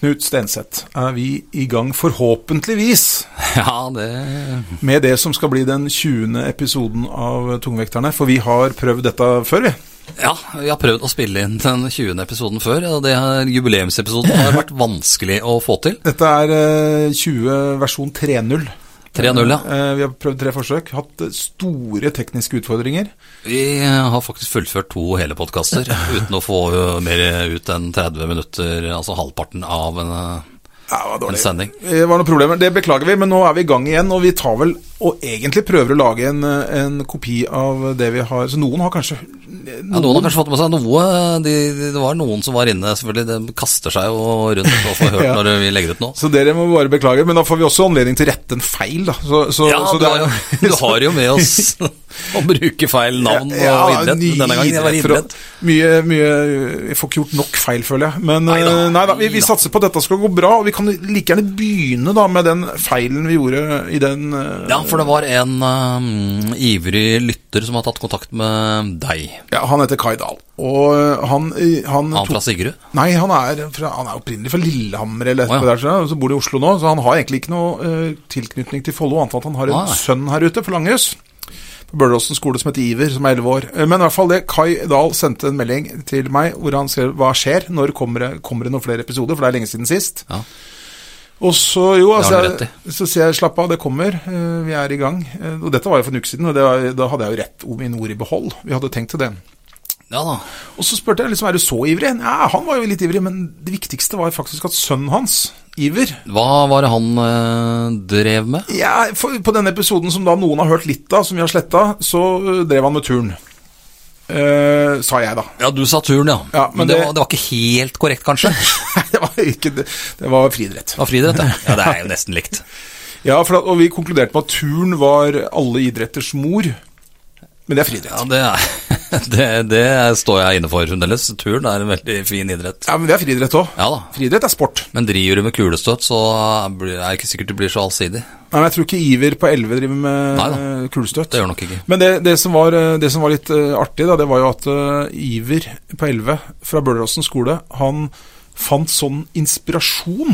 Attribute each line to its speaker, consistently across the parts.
Speaker 1: Knut Stenseth, er vi i gang forhåpentligvis
Speaker 2: Ja, det
Speaker 1: med det som skal bli den 20. episoden av Tungvekterne. For vi har prøvd dette før, vi.
Speaker 2: Ja, vi har prøvd å spille inn den 20. episoden før, og det her jubileumsepisoden har vært vanskelig å få til.
Speaker 1: Dette er eh, 20 versjon 3.0.
Speaker 2: 3-0, ja.
Speaker 1: Eh, Vi har prøvd tre forsøk, hatt eh, store tekniske utfordringer.
Speaker 2: Vi har faktisk fullført to hele podkaster uten å få eh, mer ut enn 30 minutter, altså halvparten av en, eh,
Speaker 1: Ja, det var
Speaker 2: en sending.
Speaker 1: Det var noen problemer, det beklager vi, men nå er vi i gang igjen. Og vi tar vel, og egentlig prøver å lage en, eh, en kopi av det vi har Så noen har kanskje
Speaker 2: Ja, noen har kanskje fått med seg noe. øh, De, de, det var noen som var inne, selvfølgelig. De kaster seg jo rundt og får hørt
Speaker 1: Ja.
Speaker 2: når vi legger ut nå.
Speaker 1: Så dere må bare beklage, men da får vi også anledning til å rette en feil, da. Så, så,
Speaker 2: Ja,
Speaker 1: så
Speaker 2: du har, jo, du har jo med oss å bruke feil navn og idrett.
Speaker 1: ny
Speaker 2: men Denne gangen det var
Speaker 1: idrett, for å-
Speaker 2: idrett.
Speaker 1: Mye, mye Jeg får ikke gjort nok feil, føler jeg. Men
Speaker 2: Neida,
Speaker 1: eh, neida, vi, vi
Speaker 2: neida.
Speaker 1: satser på at dette skal gå bra, og vi kan like gjerne begynne da med den feilen vi gjorde i den eh,
Speaker 2: Ja, for det var en um, ivrig lytter som har tatt kontakt med deg.
Speaker 1: ja, Han heter Kai Dahl, og eh, han, eh, han,
Speaker 2: Han
Speaker 1: tok-
Speaker 2: fra Sigrud.
Speaker 1: Nei, han er, fra, han er opprinnelig fra Lillehammer, eller
Speaker 2: Å,
Speaker 1: etterpå
Speaker 2: ja.
Speaker 1: der, så, og så bor han i Oslo nå. Så han har egentlig ikke noe eh, tilknytning til Follo, annet enn at han har en
Speaker 2: Nei.
Speaker 1: sønn her ute, på Langhus. På Børdåsen skole som heter Iver, som er 11 år. Eh, Men i hvert fall det, Kai Dahl sendte en melding til meg hvor han skrev 'Hva skjer? Når kommer det, kommer det noen flere episoder?' For det er lenge siden sist.
Speaker 2: Ja.
Speaker 1: Og så jo,
Speaker 2: Det
Speaker 1: altså,
Speaker 2: har han
Speaker 1: jeg, så sier jeg 'slapp av, det kommer, eh, vi er i gang'. Eh, Og dette var jo for en uke siden, og det var, da hadde jeg jo rett om mine ord i behold. Vi hadde tenkt til det.
Speaker 2: Ja da.
Speaker 1: Og så spurte jeg liksom, er du så ivrig? Ja, han var jo litt ivrig, men det viktigste var faktisk at sønnen hans, Iver
Speaker 2: Hva var det han eh, drev med?
Speaker 1: ja, eh, for, På denne episoden som da noen har hørt litt av, som vi har sletta, så øh, drev han med turn. Eh, sa jeg, da.
Speaker 2: Ja, du sa turn, ja.
Speaker 1: Ja, men
Speaker 2: men det,
Speaker 1: det-
Speaker 2: var, det var ikke helt korrekt, kanskje? Det
Speaker 1: det var ikke det. Det var friidrett.
Speaker 2: var friidrett, ja. ja. Det er jo nesten likt.
Speaker 1: Ja, for, at- og vi konkluderte med at turn var alle idretters mor. Men det er friidrett.
Speaker 2: Ja, det, er, det, det står jeg inne for fremdeles. Turn er en veldig fin idrett.
Speaker 1: Ja, men det er friidrett òg.
Speaker 2: Ja da.
Speaker 1: Friidrett er sport.
Speaker 2: Men driver du med kulestøt, så blir- er det ikke sikkert du blir så allsidig.
Speaker 1: Nei, men Jeg tror ikke Iver på 11 driver med
Speaker 2: Nei da.
Speaker 1: eh, kulestøt.
Speaker 2: Det gjør nok ikke.
Speaker 1: Men det, det, som var, eh, det som var litt eh, artig, da, det var jo at eh, Iver på 11 fra Bøleråsen skole, han fant sånn inspirasjon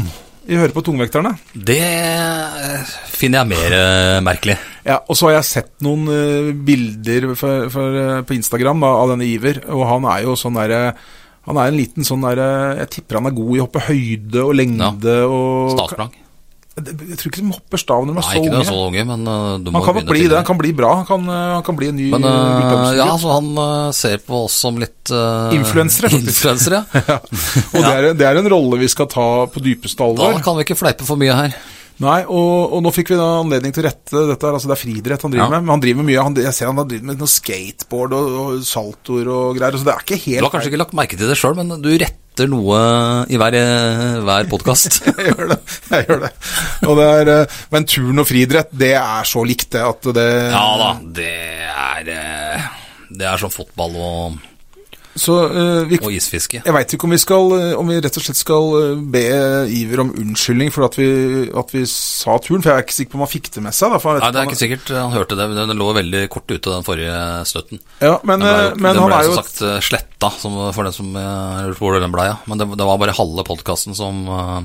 Speaker 1: i å høre på Tungvekterne.
Speaker 2: Det eh, finner jeg mer eh, merkelig.
Speaker 1: Ja, og så har jeg sett noen eh, bilder for, for, eh, på Instagram da, av denne Iver, og han er jo sånn derre han er en liten sånn der, eh, Jeg tipper han er god i å hoppe høyde og lengde og
Speaker 2: Stavsprang.
Speaker 1: Jeg tror ikke de hopper stav når de er
Speaker 2: Nei,
Speaker 1: så
Speaker 2: ikke det
Speaker 1: unge.
Speaker 2: er så unge, men eh, du må
Speaker 1: han kan nok
Speaker 2: begynne
Speaker 1: bli
Speaker 2: tidligere.
Speaker 1: det. Han kan bli bra. Han kan, eh, han kan bli en ny
Speaker 2: Men
Speaker 1: eh, Bjørn
Speaker 2: øh,
Speaker 1: Thomsen.
Speaker 2: ja, så han øh, ser på oss som litt øh,
Speaker 1: Influensere, faktisk.
Speaker 2: influensere, ja.
Speaker 1: Ja. Og det er, det er en rolle vi skal ta på dypeste
Speaker 2: Da
Speaker 1: alvor.
Speaker 2: kan vi ikke fleipe for mye her.
Speaker 1: Nei, og, og nå fikk vi da anledning til å rette dette. her, altså Det er friidrett han driver
Speaker 2: Ja.
Speaker 1: med. Men han driver med mye. Han, jeg ser han har drevet med noe skateboard og, og saltoer og greier. Så det er ikke helt
Speaker 2: Du har kanskje ikke lagt merke til det sjøl, men du retter noe i hver, øh, hver podkast.
Speaker 1: jeg gjør det. jeg gjør det. Og det er, eh, men turn og friidrett, det er så likt, det. At det
Speaker 2: ja da, det er øh, Det er som fotball og,
Speaker 1: Så eh, vi,
Speaker 2: og isfiske.
Speaker 1: jeg veit ikke om vi, skal, eh, om vi rett og slett skal eh, be Iver om unnskyldning for at vi, at vi sa turn. For jeg er ikke sikker på om han fikk det med seg. Da, for jeg vet
Speaker 2: Nei, Det er
Speaker 1: om
Speaker 2: ikke sikkert han hørte det, men den lå veldig kort ute, den forrige støtten.
Speaker 1: Ja, men,
Speaker 2: Den ble,
Speaker 1: eh,
Speaker 2: jo-
Speaker 1: men
Speaker 2: den
Speaker 1: han
Speaker 2: ble
Speaker 1: er jo
Speaker 2: som sagt øh, sletta, som, for den som øh, lurte på hvor den blei av. Men det, det var bare halve podkasten som øh,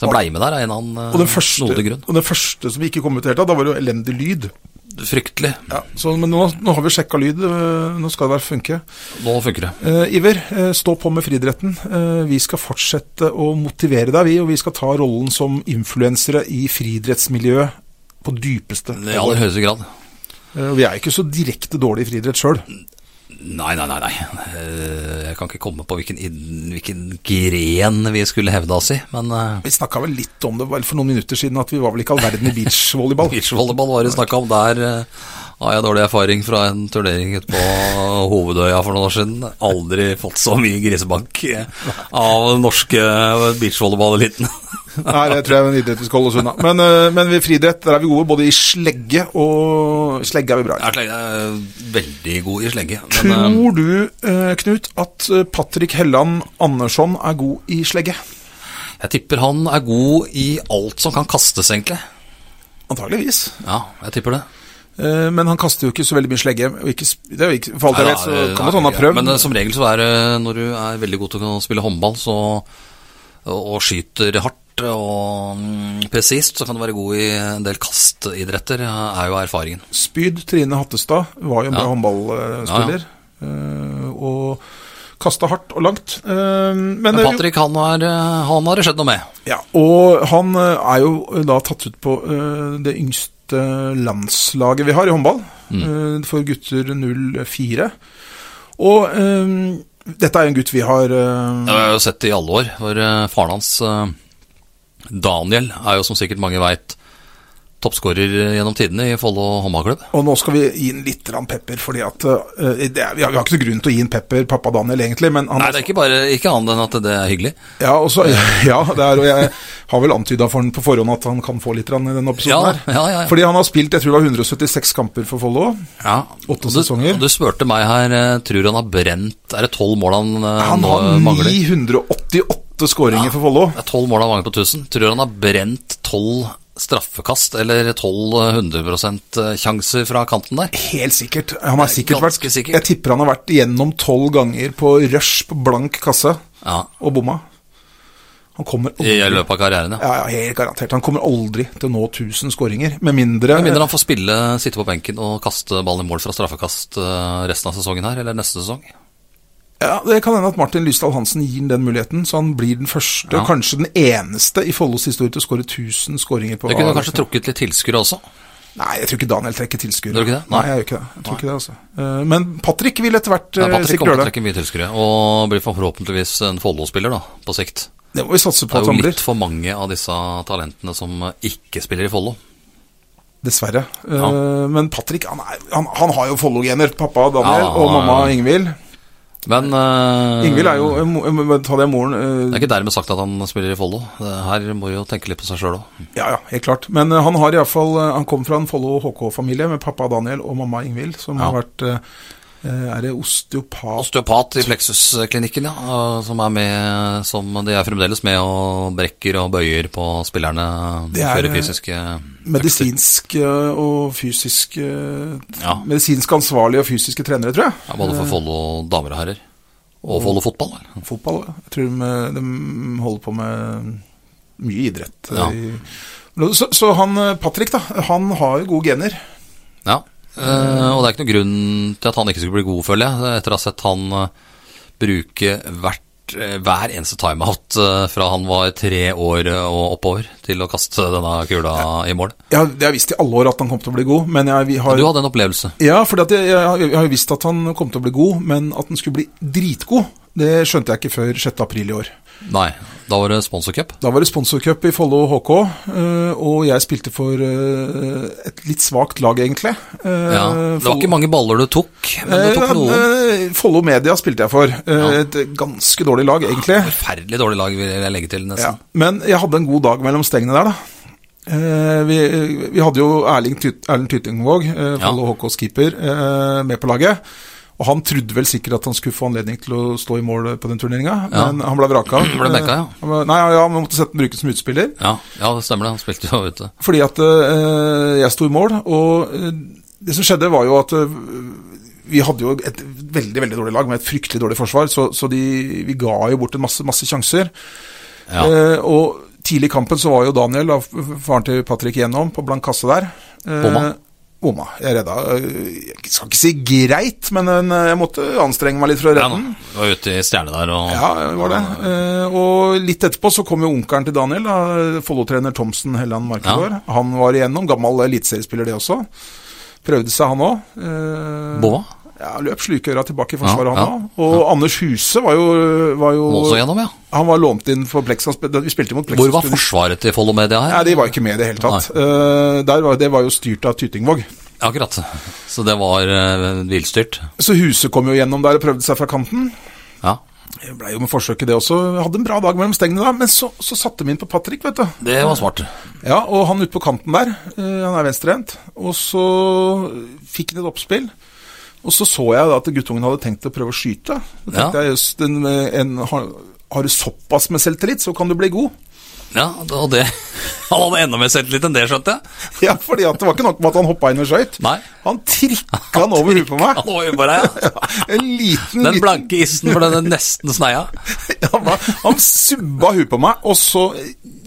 Speaker 2: som blei med der, av en eller annen øh,
Speaker 1: og den, første,
Speaker 2: snodig grunn.
Speaker 1: og den første som ikke kom ut i det hele tatt, da var det jo elendig lyd.
Speaker 2: Fryktelig.
Speaker 1: Ja, så, men nå, nå har vi sjekka lyd, øh, nå skal det være funke.
Speaker 2: Nå funker det.
Speaker 1: Eh, Iver, eh, stå på med friidretten. Eh, vi skal fortsette å motivere deg, vi. Og vi skal ta rollen som influensere i friidrettsmiljøet på dypeste.
Speaker 2: I aller høyeste grad.
Speaker 1: Eh, og vi er ikke så direkte dårlige i friidrett sjøl.
Speaker 2: Nei, nei, nei. nei. Eh, Jeg kan ikke komme på hvilken, id- hvilken gren vi skulle hevde oss i, men eh,
Speaker 1: Vi snakka vel litt om det vel for noen minutter siden, at vi var vel ikke all verden i beachvolleyball.
Speaker 2: beachvolleyball var det snakk om. Der eh, har jeg dårlig erfaring fra en turnering ute på Hovedøya for noen år siden. Aldri fått så mye grisebank eh, av den norske beachvolleyballeliten.
Speaker 1: Nei, det tror jeg er en idrett vi skal holde oss unna. Men, eh, men ved friidrett der er vi gode, både i slegge og Slegge er vi bra i.
Speaker 2: Jeg er slegge- jeg er veldig god i slegge. Men, eh,
Speaker 1: Tror du, eh, Knut, at eh, Patrick Helland Andersson er god i slegge?
Speaker 2: jeg tipper han er god i alt som kan kastes, egentlig.
Speaker 1: Antageligvis.
Speaker 2: Ja, jeg tipper det.
Speaker 1: Eh, Men han kaster jo ikke så veldig mye slegge. Og ikke, sp- det er jo ikke, for alt jeg
Speaker 2: Nei,
Speaker 1: vet,
Speaker 2: da,
Speaker 1: så
Speaker 2: eh,
Speaker 1: kan det
Speaker 2: nei,
Speaker 1: han har prøvd.
Speaker 2: Men eh, som regel så er det når du er veldig god til å spille håndball så, og, og skyter hardt og mm, presist, så kan du være god i en del kastidretter, eh, er jo erfaringen.
Speaker 1: Spyd Trine Hattestad var jo en bra
Speaker 2: Ja.
Speaker 1: håndballspiller. eh, Og kasta hardt og langt. Eh, Men,
Speaker 2: Men
Speaker 1: eh, jo-
Speaker 2: Patrick, han, er, eh, han har det skjedd noe med.
Speaker 1: Ja, og han eh, er jo eh, da tatt ut på eh, det yngste landslaget vi har i håndball,
Speaker 2: Mm.
Speaker 1: eh, for gutter 04. Og eh, dette er jo en gutt vi har eh,
Speaker 2: Det har jeg jo sett i alle år, for eh, faren hans, eh, Daniel, er jo som sikkert mange veit toppskårer gjennom tidene i Follo håndballklubb.
Speaker 1: Og nå skal vi gi han litt grann pepper, fordi at eh, det er, Vi har vi har ikke noen grunn til å gi han pepper, pappa Daniel, egentlig, men han
Speaker 2: Nei, det er ikke bare ikke annet enn at det er hyggelig.
Speaker 1: Ja, og så- ja det er, og jeg har vel antyda for han på forhånd at han kan få litt grann i denne
Speaker 2: Ja,
Speaker 1: episoden her.
Speaker 2: ja, ja, ja.
Speaker 1: Fordi han har spilt jeg tror det var 176 kamper for Follo.
Speaker 2: Ja.
Speaker 1: Åtte
Speaker 2: og du,
Speaker 1: sesonger.
Speaker 2: og Du spurte meg her, eh, tror han har brent Er det tolv mål han, eh,
Speaker 1: Han
Speaker 2: nå
Speaker 1: har
Speaker 2: mangler?
Speaker 1: 988 skåringer for Follo.
Speaker 2: Det er tolv mål han mangler på 1000. Tror han har brent tolv straffekast, eller tolv 100 sjanser fra kanten der?
Speaker 1: Helt sikkert. Han har sikkert vært,
Speaker 2: ganske sikkert.
Speaker 1: Jeg tipper han har vært igjennom tolv ganger på rush på blank kasse
Speaker 2: Ja,
Speaker 1: og bomma. Han kommer
Speaker 2: i
Speaker 1: aldri, ja,
Speaker 2: løpet av karrieren, ja.
Speaker 1: ja, helt garantert. Han kommer aldri til å nå 1000 skåringer, med mindre,
Speaker 2: Med mindre han får spille, sitte på benken og kaste ballen i mål fra straffekast eh, resten av sesongen her, eller neste sesong.
Speaker 1: ja, Det kan hende at Martin Lysdal Hansen gir ham den muligheten, så han blir den første,
Speaker 2: Ja.
Speaker 1: kanskje den eneste i Follos historie til å skåre 1000 skåringer på
Speaker 2: Det kunne kanskje trukket litt tilskuere også.
Speaker 1: Eh, Nei, jeg tror ikke Daniel trekker tilskuere.
Speaker 2: Tror du ikke det?
Speaker 1: Nei.
Speaker 2: Nei.
Speaker 1: jeg gjør ikke det. Jeg tror ikke det altså. Eh, Men Patrick vil etter hvert
Speaker 2: Ja,
Speaker 1: eh,
Speaker 2: Patrick
Speaker 1: sikkert
Speaker 2: kommer til å
Speaker 1: gjøre det.
Speaker 2: trekke mye tilskuere, og blir forhåpentligvis en Follo-spiller, da, på sikt.
Speaker 1: Det må vi satse
Speaker 2: Det
Speaker 1: på
Speaker 2: er
Speaker 1: at
Speaker 2: jo
Speaker 1: han blir.
Speaker 2: litt for mange av disse talentene som ikke spiller i Follo.
Speaker 1: Dessverre. Eh,
Speaker 2: Ja.
Speaker 1: men Patrick han, er, han, han har jo Follo-gener. Pappa Daniel
Speaker 2: Ja, han
Speaker 1: og
Speaker 2: har-
Speaker 1: mamma Ingvild.
Speaker 2: Men eh,
Speaker 1: Ingvild er jo eh, mo- eh, men Ta det moren
Speaker 2: Det
Speaker 1: eh,
Speaker 2: er ikke dermed sagt at han spiller i Follo. Det- Her må jo tenke litt på seg sjøl òg.
Speaker 1: Ja, ja, helt klart. Men eh, han har iallfall Han kom fra en Follo HK-familie med pappa Daniel og mamma Ingvild, som
Speaker 2: Ja.
Speaker 1: har vært eh, eh, Er det osteopat
Speaker 2: Osteopat i Plexusklinikken, ja. eh, Som er med som De er fremdeles med og brekker og bøyer på spillerne.
Speaker 1: Det er,
Speaker 2: Fører
Speaker 1: eh,
Speaker 2: fysiske
Speaker 1: Medisinsk eh, og fysisk eh,
Speaker 2: Ja.
Speaker 1: Medisinsk ansvarlige og fysiske trenere, tror jeg.
Speaker 2: ja, Både for Follo damer og herrer. Og Follo fotball. vel?
Speaker 1: Fotball. Jeg tror de, de holder på med mye idrett. eh,
Speaker 2: Ja.
Speaker 1: i- Så, så han eh, Patrick, da. Han har jo gode gener.
Speaker 2: Ja. eh, og det er ikke noen grunn til at han ikke skulle bli god, føler jeg, etter å ha sett han eh, bruke hvert eh, hver eneste timeout eh, fra han var tre år eh, og oppover, til å kaste denne kula i mål.
Speaker 1: Jeg har, jeg har visst i alle år at han kom til å bli god, men jeg, vi har
Speaker 2: Du hadde en opplevelse.
Speaker 1: Ja, fordi at jeg, jeg, har- jeg har jo visst at han kom til å bli god, men at han skulle bli dritgod, det skjønte jeg ikke før 6. april i år.
Speaker 2: Nei, da var det sponsorcup.
Speaker 1: Da var det sponsorcup i Follo HK, eh, og jeg spilte for eh, et litt svakt lag, egentlig. Eh,
Speaker 2: Ja. Det var ikke mange baller du tok, men du tok
Speaker 1: Eh,
Speaker 2: noen.
Speaker 1: eh, Follo Media spilte jeg for. Eh, Et ganske dårlig lag, egentlig.
Speaker 2: Forferdelig dårlig lag, vil jeg legge
Speaker 1: eh,
Speaker 2: til,
Speaker 1: Ja.
Speaker 2: nesten.
Speaker 1: Men jeg hadde en god dag mellom stengene der, da. Eh, vi, vi hadde jo Erling Tyt, Erlend Tytingvåg, eh, Follo HKs keeper, eh, med på laget. Og han trodde vel sikkert at han skulle få anledning til å stå i mål på den turneringa,
Speaker 2: Ja.
Speaker 1: men han ble vraka.
Speaker 2: Ble benka, ja.
Speaker 1: Eh, han ble- Nei, ja, han måtte sette, bruke den som utspiller.
Speaker 2: Ja, ja, det stemmer det. Han spilte jo ute.
Speaker 1: Fordi at eh, jeg sto i mål, og eh, det som skjedde var jo at eh, vi hadde jo et veldig veldig dårlig lag med et fryktelig dårlig forsvar, så, så de, vi ga jo bort en masse, masse sjanser.
Speaker 2: Ja.
Speaker 1: Eh, og tidlig i kampen så var jo Daniel, da, f- f- faren til Patrick, gjennom på blank kasse der. Eh,
Speaker 2: Bomma.
Speaker 1: Bomma. Jeg redda eh, Jeg skal ikke si greit, men eh, jeg måtte anstrenge meg litt for å
Speaker 2: Ja,
Speaker 1: redde
Speaker 2: da.
Speaker 1: den.
Speaker 2: Du var ute i stjerne der og
Speaker 1: Ja, det var det. Eh, og litt etterpå så kom jo onkelen til Daniel, da, Follo-trener Thomsen Helland Markedgaard. Han var igjennom, gammel eliteseriespiller det også. Prøvde seg han òg. Eh,
Speaker 2: Boa.
Speaker 1: ja, løp slukøra tilbake i forsvaret,
Speaker 2: Ja,
Speaker 1: han òg. Og Anders Huse var jo, var jo
Speaker 2: Må også gjennom, ja.
Speaker 1: Han var lånt inn for Plexas. Vi spilte mot Plexas.
Speaker 2: Hvor var forsvaret til Follo Media
Speaker 1: Nei,
Speaker 2: her?
Speaker 1: De var ikke med i det hele tatt. Eh, der var, det var jo styrt av Tytingvåg.
Speaker 2: Akkurat. Så det var eh, hvilstyrt.
Speaker 1: Så Huse kom jo gjennom der og prøvde seg fra kanten.
Speaker 2: Ja.
Speaker 1: Det ble jo med forsøket, det også. Jeg hadde en bra dag mellom stengene da, men så, så satte vi inn på Patrick, vet du.
Speaker 2: Det var smart.
Speaker 1: Ja, og han ute på kanten der, eh, han er venstrehendt, og så fikk han et oppspill. Og så så jeg da at guttungen hadde tenkt å prøve å skyte. Da tenkte jeg just en, en, har, har du såpass med selvtillit, så kan du bli god.
Speaker 2: Ja, og det Han hadde enda mer selvtillit enn det, skjønte jeg.
Speaker 1: Ja, fordi at det var ikke nok med at han hoppa inn og skøyt.
Speaker 2: Nei.
Speaker 1: Han trikka han over huet på meg.
Speaker 2: Han var jo bare ja.
Speaker 1: En liten,
Speaker 2: Den
Speaker 1: liten
Speaker 2: blanke issen for den nesten sneia.
Speaker 1: han, var, han subba huet på meg, og så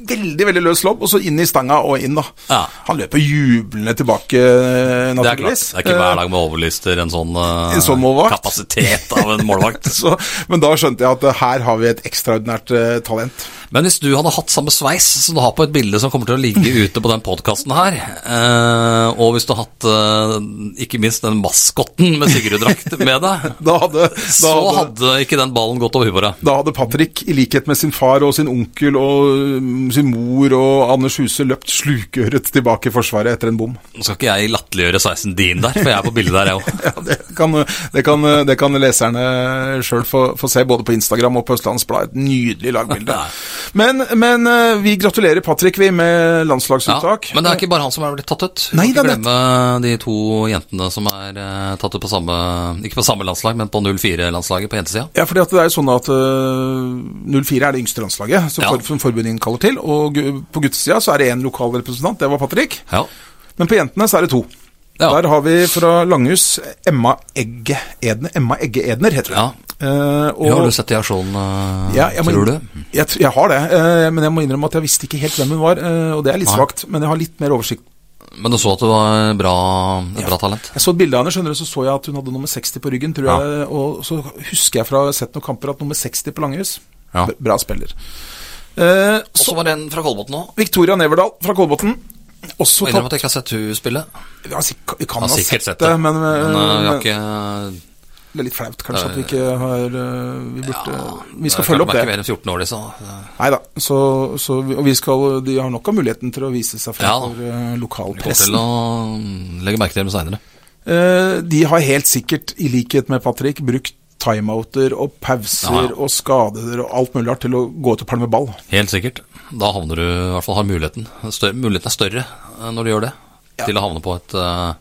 Speaker 1: veldig veldig løs lobb, og så inn i stanga og inn, da.
Speaker 2: Ja.
Speaker 1: Han løper jublende tilbake, eh,
Speaker 2: Det er klart.
Speaker 1: naturligvis.
Speaker 2: Det er ikke hver dag med overlyster en sånn, eh,
Speaker 1: En sånn målvakt.
Speaker 2: kapasitet av en målvakt.
Speaker 1: Eh, så, men da skjønte jeg at eh, her har vi et ekstraordinært eh, talent.
Speaker 2: Men hvis du hadde hatt samme sveis som du har på et bilde som kommer til å ligge ute på den podkasten her, eh, og hvis du hadde hatt eh, ikke minst den maskotten med Sigrud-drakt med deg,
Speaker 1: Da hadde, da,
Speaker 2: så
Speaker 1: hadde,
Speaker 2: hadde ikke den ballen gått over huet på deg.
Speaker 1: da hadde Patrick, i likhet med sin far og sin onkel og mm, sin mor og Anders Huse, løpt slukøret tilbake i Forsvaret etter en bom.
Speaker 2: Nå skal ikke jeg latterliggjøre sveisen din der, for jeg er på bildet der, jeg òg.
Speaker 1: Ja, det kan, det kan, det kan leserne sjøl få, få se, både på Instagram og på Østlandets Blad. Et nydelig lagbilde. Men, men eh, vi gratulerer Patrick, vi, med
Speaker 2: Ja,
Speaker 1: landslagsuttak.
Speaker 2: men det er ikke bare han som er blitt tatt ut. Vi
Speaker 1: Nei,
Speaker 2: må ikke
Speaker 1: det er
Speaker 2: glemme de to jentene som er eh, tatt ut på samme Ikke på samme landslag, men på 04-landslaget på jentesida.
Speaker 1: Ja, fordi at det er jo sånn at eh, 04 er det yngste landslaget som,
Speaker 2: Ja.
Speaker 1: for, som forbundet innkaller til. Og gu- på guttesida så er det én lokal representant, det var Patrick.
Speaker 2: Ja.
Speaker 1: Men på jentene så er det to.
Speaker 2: Ja.
Speaker 1: Der har vi fra Langhus Emma Egge Edner, Emma Egge Edner heter hun.
Speaker 2: Ja.
Speaker 1: Eh, og-
Speaker 2: har du sett i aksjonen, eh,
Speaker 1: Ja, jeg må
Speaker 2: tror du?
Speaker 1: inn- Jeg, tr- jeg har det, eh, men jeg må innrømme at jeg visste ikke helt hvem hun var. eh, Og det er litt
Speaker 2: Nei.
Speaker 1: svakt, men jeg har litt mer oversikt.
Speaker 2: Men du så at det var bra, et bra talent?
Speaker 1: Jeg så et bilde av henne, skjønner du, så så jeg at hun hadde nummer 60 på ryggen, tror jeg. Og så husker jeg fra å ha sett noen kamper at nummer 60 på Langhus
Speaker 2: Ja.
Speaker 1: b- Bra spiller. Eh,
Speaker 2: Og så var det en fra Kolbotn òg.
Speaker 1: Victoria Neverdal fra Kolbotn. Også
Speaker 2: Må innrømme at jeg ikke har sett hun spille.
Speaker 1: ja, sik- Vi kan
Speaker 2: Har
Speaker 1: ha
Speaker 2: sikkert sett det,
Speaker 1: men, eh,
Speaker 2: Men eh, vi har
Speaker 1: men
Speaker 2: ikke
Speaker 1: det er litt flaut kanskje at vi ikke har eh, Vi burde Vi skal
Speaker 2: det er klart
Speaker 1: følge opp
Speaker 2: de
Speaker 1: det.
Speaker 2: er ikke mer enn 14 år, disse.
Speaker 1: Nei da. Så, så vi, og vi skal, de har nok av muligheten til å vise seg
Speaker 2: Ja
Speaker 1: fremfor
Speaker 2: da.
Speaker 1: eh,
Speaker 2: Kommer
Speaker 1: lokalpressen.
Speaker 2: til å legge merke til dem seinere.
Speaker 1: Eh, de har helt sikkert, i likhet med Patrick, brukt timeouter og pauser
Speaker 2: Ja, ja.
Speaker 1: og skader og alt mulig rart til å gå til palme ball.
Speaker 2: Helt sikkert. Da havner du, i hvert fall har muligheten. Større, muligheten er større eh, når du gjør det, til å havne på et eh,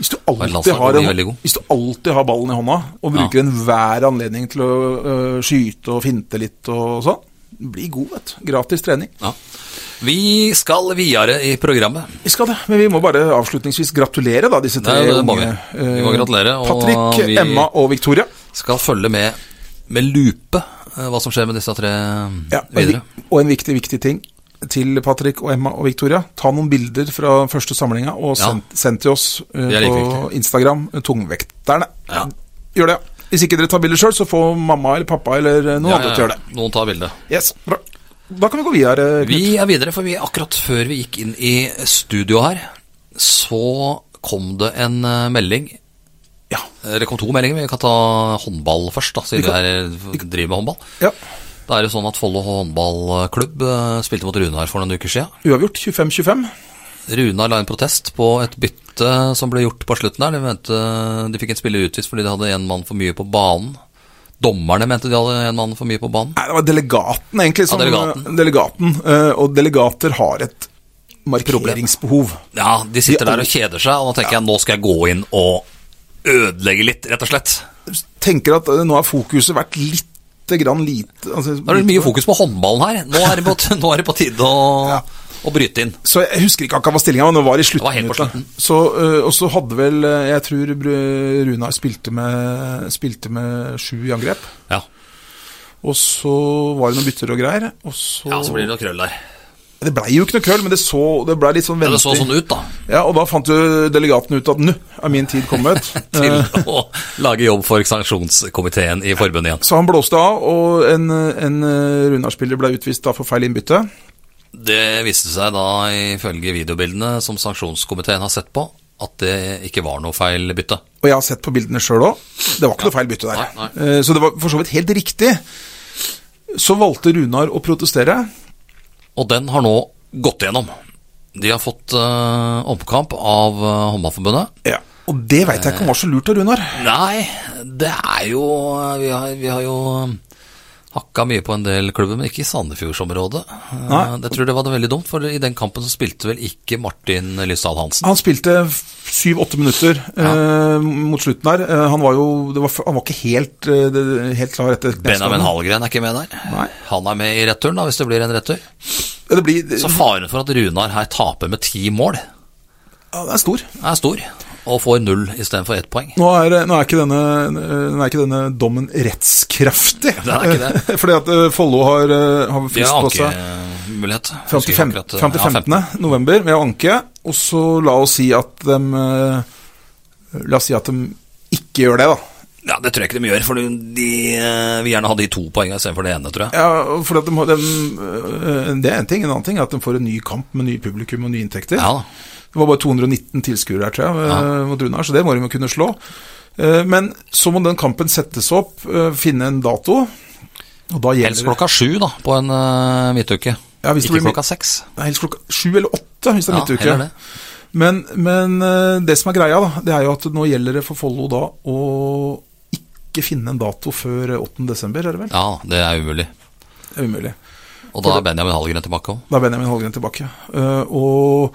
Speaker 1: Hvis du,
Speaker 2: et
Speaker 1: alltid
Speaker 2: landslag
Speaker 1: har
Speaker 2: blir
Speaker 1: en,
Speaker 2: veldig god.
Speaker 1: hvis du alltid har ballen i hånda og bruker enhver anledning til å eh, skyte og finte litt og sånn, bli god, vet du. Gratis trening.
Speaker 2: ja. Vi skal videre i programmet.
Speaker 1: Vi skal det, men vi må bare avslutningsvis gratulere, da, disse tre
Speaker 2: Det- det må
Speaker 1: unge.
Speaker 2: vi. Vi må
Speaker 1: eh,
Speaker 2: gratulere, og
Speaker 1: Patrick,
Speaker 2: vi-
Speaker 1: Emma og Victoria.
Speaker 2: Skal følge med med lupe eh, hva som skjer med disse tre
Speaker 1: Ja, og, en,
Speaker 2: videre.
Speaker 1: vik- og en viktig, viktig ting til Patrick og Emma og Victoria. Ta noen bilder fra første samlinga og
Speaker 2: Ja.
Speaker 1: send, send til oss eh,
Speaker 2: Det er like
Speaker 1: på Instagram. eh, Tungvekterne.
Speaker 2: Ja.
Speaker 1: Gjør det. Hvis ikke dere tar bilder sjøl, så får mamma eller pappa eller eh, noen
Speaker 2: Ja,
Speaker 1: andre
Speaker 2: ja,
Speaker 1: til å gjøre det.
Speaker 2: Noen tar bilde.
Speaker 1: Yes, bra. Da kan vi gå videre. Knut.
Speaker 2: Vi er videre, for vi akkurat før vi gikk inn i studio her, så kom det en eh, melding.
Speaker 1: Ja.
Speaker 2: Eh, Det kom to meldinger, men vi kan ta håndball først, da, siden
Speaker 1: Vi
Speaker 2: vi,
Speaker 1: kan-
Speaker 2: er- driver med håndball.
Speaker 1: ja.
Speaker 2: Da er det sånn at Follo håndballklubb eh, spilte mot Runar for noen uker siden.
Speaker 1: Uavgjort 25-25.
Speaker 2: Runar la inn protest på et bytte som ble gjort på slutten der. De, mente, de fikk en spiller utvist fordi de hadde en mann for mye på banen. Dommerne mente de hadde en mann for mye på banen.
Speaker 1: Nei, det var delegaten, egentlig. Som, eh,
Speaker 2: delegaten.
Speaker 1: delegaten. eh, Og delegater har et markeringsbehov.
Speaker 2: Ja, de sitter
Speaker 1: De-
Speaker 2: der og kjeder seg, og da tenker jeg nå skal jeg gå inn og ødelegge litt, rett og slett.
Speaker 1: Tenker at eh, nå har fokuset vært litt grann lite altså,
Speaker 2: Da er det mye fokus på håndballen her. Nå er det på, nå er det på tide å, å bryte inn.
Speaker 1: Så jeg husker ikke akkurat hva stillinga var, men det var i slutten.
Speaker 2: Det var helt på
Speaker 1: ut, da.
Speaker 2: slutten.
Speaker 1: Så, øh, og så hadde vel øh, Jeg tror Bru- Runar spilte med, spilte med sju i angrep.
Speaker 2: Ja,
Speaker 1: Og så var det noen bytter og greier. Og så,
Speaker 2: ja så blir det noe krøll der.
Speaker 1: Det blei jo ikke noe krøll, men det, så, det blei litt sånn
Speaker 2: Ja,
Speaker 1: venting.
Speaker 2: Det så sånn ut, da.
Speaker 1: Ja, og da fant jo delegaten ut at nå er min tid kommet.
Speaker 2: Til
Speaker 1: Eh,
Speaker 2: å lage jobb for sanksjonskomiteen i forbundet igjen.
Speaker 1: så han blåste av, og en, en øh, Runar-spiller ble utvist da for feil innbytte.
Speaker 2: Det viste seg da, ifølge videobildene som sanksjonskomiteen har sett på, at det ikke var noe feil bytte.
Speaker 1: Og jeg har sett på bildene sjøl òg. Det var ikke noe feil bytte der.
Speaker 2: Nei,
Speaker 1: Eh, Så det var for så vidt helt riktig. Så valgte Runar å protestere.
Speaker 2: Og den har nå gått igjennom. De har fått eh, omkamp av eh, Håndballforbundet.
Speaker 1: Ja. Og det veit jeg ikke om var så lurt av Runar.
Speaker 2: eh, Nei, det er jo Vi har, vi har jo Hakka mye på en del klubber, men ikke i Sandefjordsområdet. Eh,
Speaker 1: Nei.
Speaker 2: Jeg tror det var det veldig dumt, for i den kampen så spilte vel ikke Martin Lysdal Hansen.
Speaker 1: Han spilte syv-åtte minutter eh, mot slutten der. Eh, han var jo det var, Han var ikke helt, eh, det, helt klar etter
Speaker 2: Benjamin Hallgren er ikke med der.
Speaker 1: Nei.
Speaker 2: Han er med i returen, da, hvis det blir en retur.
Speaker 1: Ja, Det, blir,
Speaker 2: Så faren for at Runar her taper med ti mål,
Speaker 1: ja, det er stor.
Speaker 2: er stor. Og får null istedenfor ett poeng.
Speaker 1: Nå er, nå, er ikke denne, nå er ikke denne dommen rettskraftig.
Speaker 2: Den er ikke det.
Speaker 1: Fordi at eh, Follo har, eh, har
Speaker 2: De
Speaker 1: frist
Speaker 2: har
Speaker 1: på seg
Speaker 2: ankemulighet.
Speaker 1: fram til, fem, fram til 15. november med å anke. Og så la oss si at de eh, La oss si at de ikke gjør det, da.
Speaker 2: Ja, det tror jeg ikke de gjør, for de eh, vil gjerne ha de to poengene istedenfor det ene, tror jeg.
Speaker 1: Ja, for at de, har- de, øh, Det er en ting. En annen ting er at de får en ny kamp med ny publikum og nye inntekter.
Speaker 2: Ja da.
Speaker 1: Det var bare 219 tilskuere her, tror jeg, øh, mot Runar, så det må de jo kunne slå. Eh, Men så må den kampen settes opp, øh, finne en dato. Og da gjelder
Speaker 2: Helst klokka sju, da, på en eh, midtuke.
Speaker 1: Ja, hvis det
Speaker 2: ikke
Speaker 1: blir mid-
Speaker 2: klokka seks.
Speaker 1: Nei, helst klokka sju eller åtte, hvis det er
Speaker 2: Ja,
Speaker 1: midtuke.
Speaker 2: heller det.
Speaker 1: Men, men eh, det som er greia, da, det er jo at nå gjelder det for Follo da å ikke finne en dato før 8.12., er det vel?
Speaker 2: Ja, det er umulig.
Speaker 1: Det er umulig.
Speaker 2: Og da er Benjamin Hallgren tilbake òg.
Speaker 1: Da er Benjamin Hallgren tilbake. Eh, og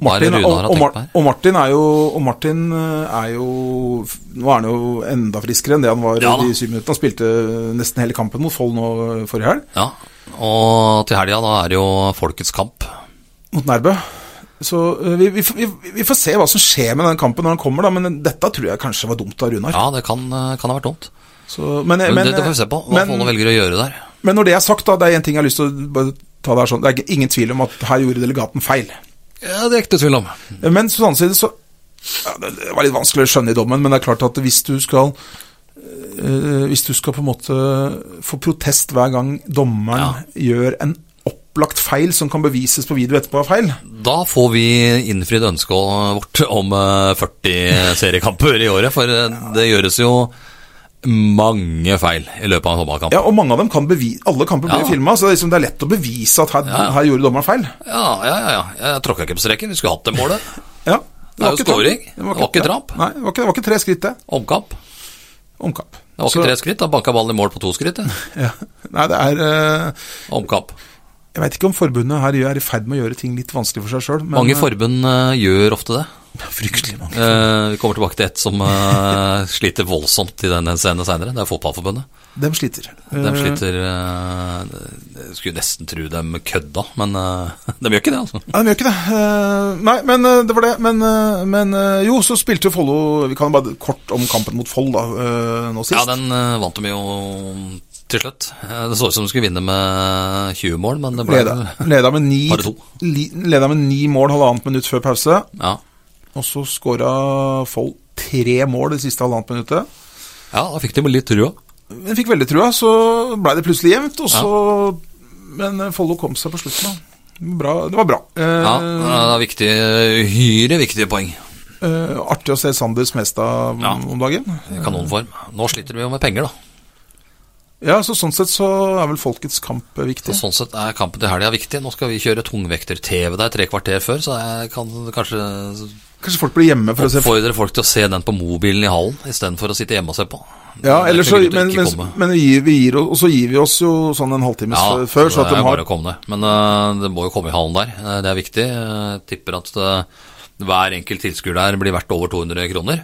Speaker 2: Hva er det
Speaker 1: Martin,
Speaker 2: Runar har
Speaker 1: og, og,
Speaker 2: tenkt på
Speaker 1: Mar-
Speaker 2: her?
Speaker 1: og Martin er jo Og Martin eh, er jo Nå er han jo enda friskere enn det han var
Speaker 2: Ja da.
Speaker 1: de syv minuttene. Han spilte nesten hele kampen mot Foll nå eh, forrige helg,
Speaker 2: Ja. Og til helga, da er det jo Folkets kamp.
Speaker 1: mot Nærbø. Så eh, vi, vi, får- vi, vi får se hva som skjer med den kampen når han kommer, da. Men dette tror jeg kanskje var dumt av Runar.
Speaker 2: Ja, det kan, eh, kan ha vært dumt.
Speaker 1: Så- men, eh,
Speaker 2: Men,
Speaker 1: men-
Speaker 2: det, det får vi se på hva
Speaker 1: men-
Speaker 2: Follo velger å gjøre der.
Speaker 1: Men når det er sagt, da, det er en ting jeg har lyst til å bare ta der sånn. Det er ikke- ingen tvil om at her gjorde delegaten feil.
Speaker 2: Ja, det er ikke tvil om.
Speaker 1: Men på den annen side så ja, Det det var litt vanskelig å skjønne i dommen, men det er klart at hvis du skal eh, Hvis du skal på en måte få protest hver gang dommeren gjør en opplagt feil som kan bevises på video etterpå er feil
Speaker 2: Da får vi innfridd ønsket vårt om eh, 40 seriekamper i året, for eh, det gjøres jo mange feil i løpet av en fotballkamp.
Speaker 1: Ja, og mange av dem kan bevise Alle kamper blir
Speaker 2: Ja.
Speaker 1: filma, så det er, liksom, det er lett å bevise at her,
Speaker 2: ja.
Speaker 1: her gjorde dommeren feil.
Speaker 2: Ja, ja, ja. ja. Jeg tråkka ikke på streken, vi skulle hatt det målet.
Speaker 1: Ja.
Speaker 2: Det er jo
Speaker 1: var ikke tramp.
Speaker 2: scoring. Det var ikke tramp.
Speaker 1: Nei, det var ikke, det var ikke tre skritt, det.
Speaker 2: Omkamp. Det
Speaker 1: Omkamp.
Speaker 2: var ikke
Speaker 1: Så-
Speaker 2: tre skritt, da banka ballen i mål på to skritt. det.
Speaker 1: Ja. Nei, det er eh,
Speaker 2: Omkamp.
Speaker 1: Jeg veit ikke om forbundet her er i ferd med å gjøre ting litt vanskelig for seg sjøl.
Speaker 2: Mange forbund eh, gjør ofte det.
Speaker 1: Fryktelig mange.
Speaker 2: Eh, Vi kommer tilbake til et som eh, sliter voldsomt i den scenen seinere. Det er Fotballforbundet.
Speaker 1: De sliter.
Speaker 2: De
Speaker 1: Eh,
Speaker 2: sliter eh, Jeg skulle nesten tro dem kødda, men eh, de gjør ikke det, altså.
Speaker 1: Nei, de gjør ikke det. Eh, Nei, men eh, det var det. Men, eh, men eh, jo, så spilte jo Follo Vi kan bare kort om kampen mot Foll da, eh, nå sist.
Speaker 2: Ja, den eh, vant de jo til slutt. Eh, Det så ut som de skulle vinne med 20 mål, men det ble
Speaker 1: Leda, leda, med ni,
Speaker 2: Bare to.
Speaker 1: li, leda med ni mål halvannet minutt før pause.
Speaker 2: Ja.
Speaker 1: Og så skåra Foll tre mål det siste halvannet minuttet.
Speaker 2: ja, da fikk de litt trua.
Speaker 1: Men fikk veldig trua, så blei det plutselig jevnt. Og så, Men eh, Follo kom seg på slutten, da. Bra, det var bra. Eh,
Speaker 2: Ja, det er viktig, hyre viktige poeng.
Speaker 1: Eh, artig å se Sander Smestad om,
Speaker 2: Ja.
Speaker 1: om dagen.
Speaker 2: I Kanonform. Nå sliter vi jo med penger, da.
Speaker 1: Ja, så Sånn sett så er vel folkets kamp eh, viktig.
Speaker 2: Så sånn sett er kampen til helga viktig. Nå skal vi kjøre tungvekter-TV der tre kvarter før, så jeg kan kanskje
Speaker 1: Kanskje folk blir hjemme for å se
Speaker 2: oppfordre folk til å se den på mobilen i hallen istedenfor å sitte hjemme og se på.
Speaker 1: Ja,
Speaker 2: Det er
Speaker 1: eller så,
Speaker 2: ikke grunn til
Speaker 1: Men,
Speaker 2: ikke
Speaker 1: men,
Speaker 2: komme.
Speaker 1: men vi gir, vi gir, og så gir vi oss jo sånn en halvtime f- før, så at
Speaker 2: det
Speaker 1: de
Speaker 2: er
Speaker 1: har
Speaker 2: bare å komme ned. Men eh, det må jo komme i hallen der, Eh, det er viktig. Jeg tipper at eh, hver enkelt tilskuer der blir verdt over 200 kroner.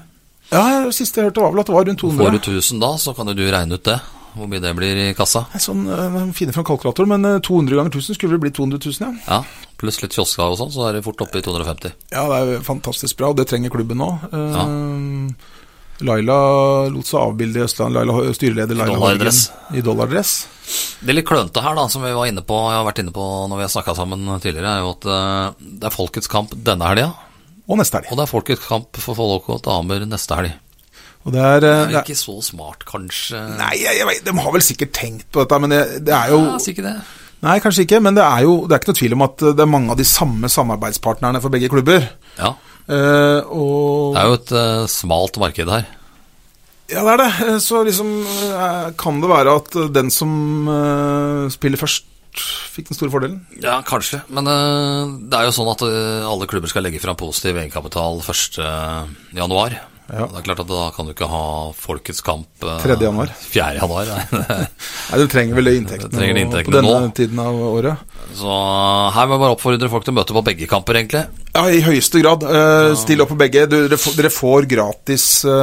Speaker 1: Ja, det siste jeg hørte var vel at det var rundt
Speaker 2: Får
Speaker 1: 200.
Speaker 2: du 1000 da, så kan jo du regne ut det. Hvor mye det blir i kassa.
Speaker 1: Nei, Sånn, eh, de finner fram kalkulatoren, men eh, 200 ganger 1000 skulle vel bli 200 000, ja.
Speaker 2: Ja, Pluss litt kiosker og sånn, så er det fort oppe i 250.
Speaker 1: Ja, det er jo fantastisk bra, og det trenger klubben nå. Eh, Laila lot seg avbilde i Østland, Laila, styreleder Laila Horgen,
Speaker 2: dollardress.
Speaker 1: I dollardress.
Speaker 2: Det litt klønete her, da, som vi var inne på, jeg har vært inne på når vi har snakka sammen tidligere, er jo at eh, det er folkets kamp denne helga.
Speaker 1: Og neste helg.
Speaker 2: Og det er folkets kamp for Follok og damer neste helg.
Speaker 1: Og det er, eh,
Speaker 2: Det er
Speaker 1: det er
Speaker 2: ikke så smart, kanskje.
Speaker 1: Nei, jeg, jeg, vet- de har vel sikkert tenkt på dette, men det, det er jo
Speaker 2: Ja, si ikke det.
Speaker 1: Nei, kanskje ikke, men det er jo Det er ikke noe tvil om at eh, det er mange av de samme samarbeidspartnerne for begge klubber.
Speaker 2: Ja,
Speaker 1: Eh, og
Speaker 2: det er jo et eh, smalt marked her.
Speaker 1: Ja, det er det. Eh, Så liksom eh, kan det være at den som eh, spiller først, fikk den store fordelen.
Speaker 2: Ja, kanskje. Men eh, det er jo sånn at eh, alle klubber skal legge fram positiv egenkapital 1.1. januar.
Speaker 1: Ja.
Speaker 2: Det er klart at Da kan du ikke ha Folkets kamp eh,
Speaker 1: 3. januar.
Speaker 2: 4. januar. nei.
Speaker 1: Nei, du trenger vel inntektene,
Speaker 2: Du trenger
Speaker 1: nå,
Speaker 2: inntektene
Speaker 1: på denne
Speaker 2: nå.
Speaker 1: tiden av året?
Speaker 2: Så her må jeg bare oppfordre folk til å møte på begge kamper, egentlig.
Speaker 1: Ja, i høyeste grad. Eh, Still opp på begge. Du, dere, får, dere får gratis eh,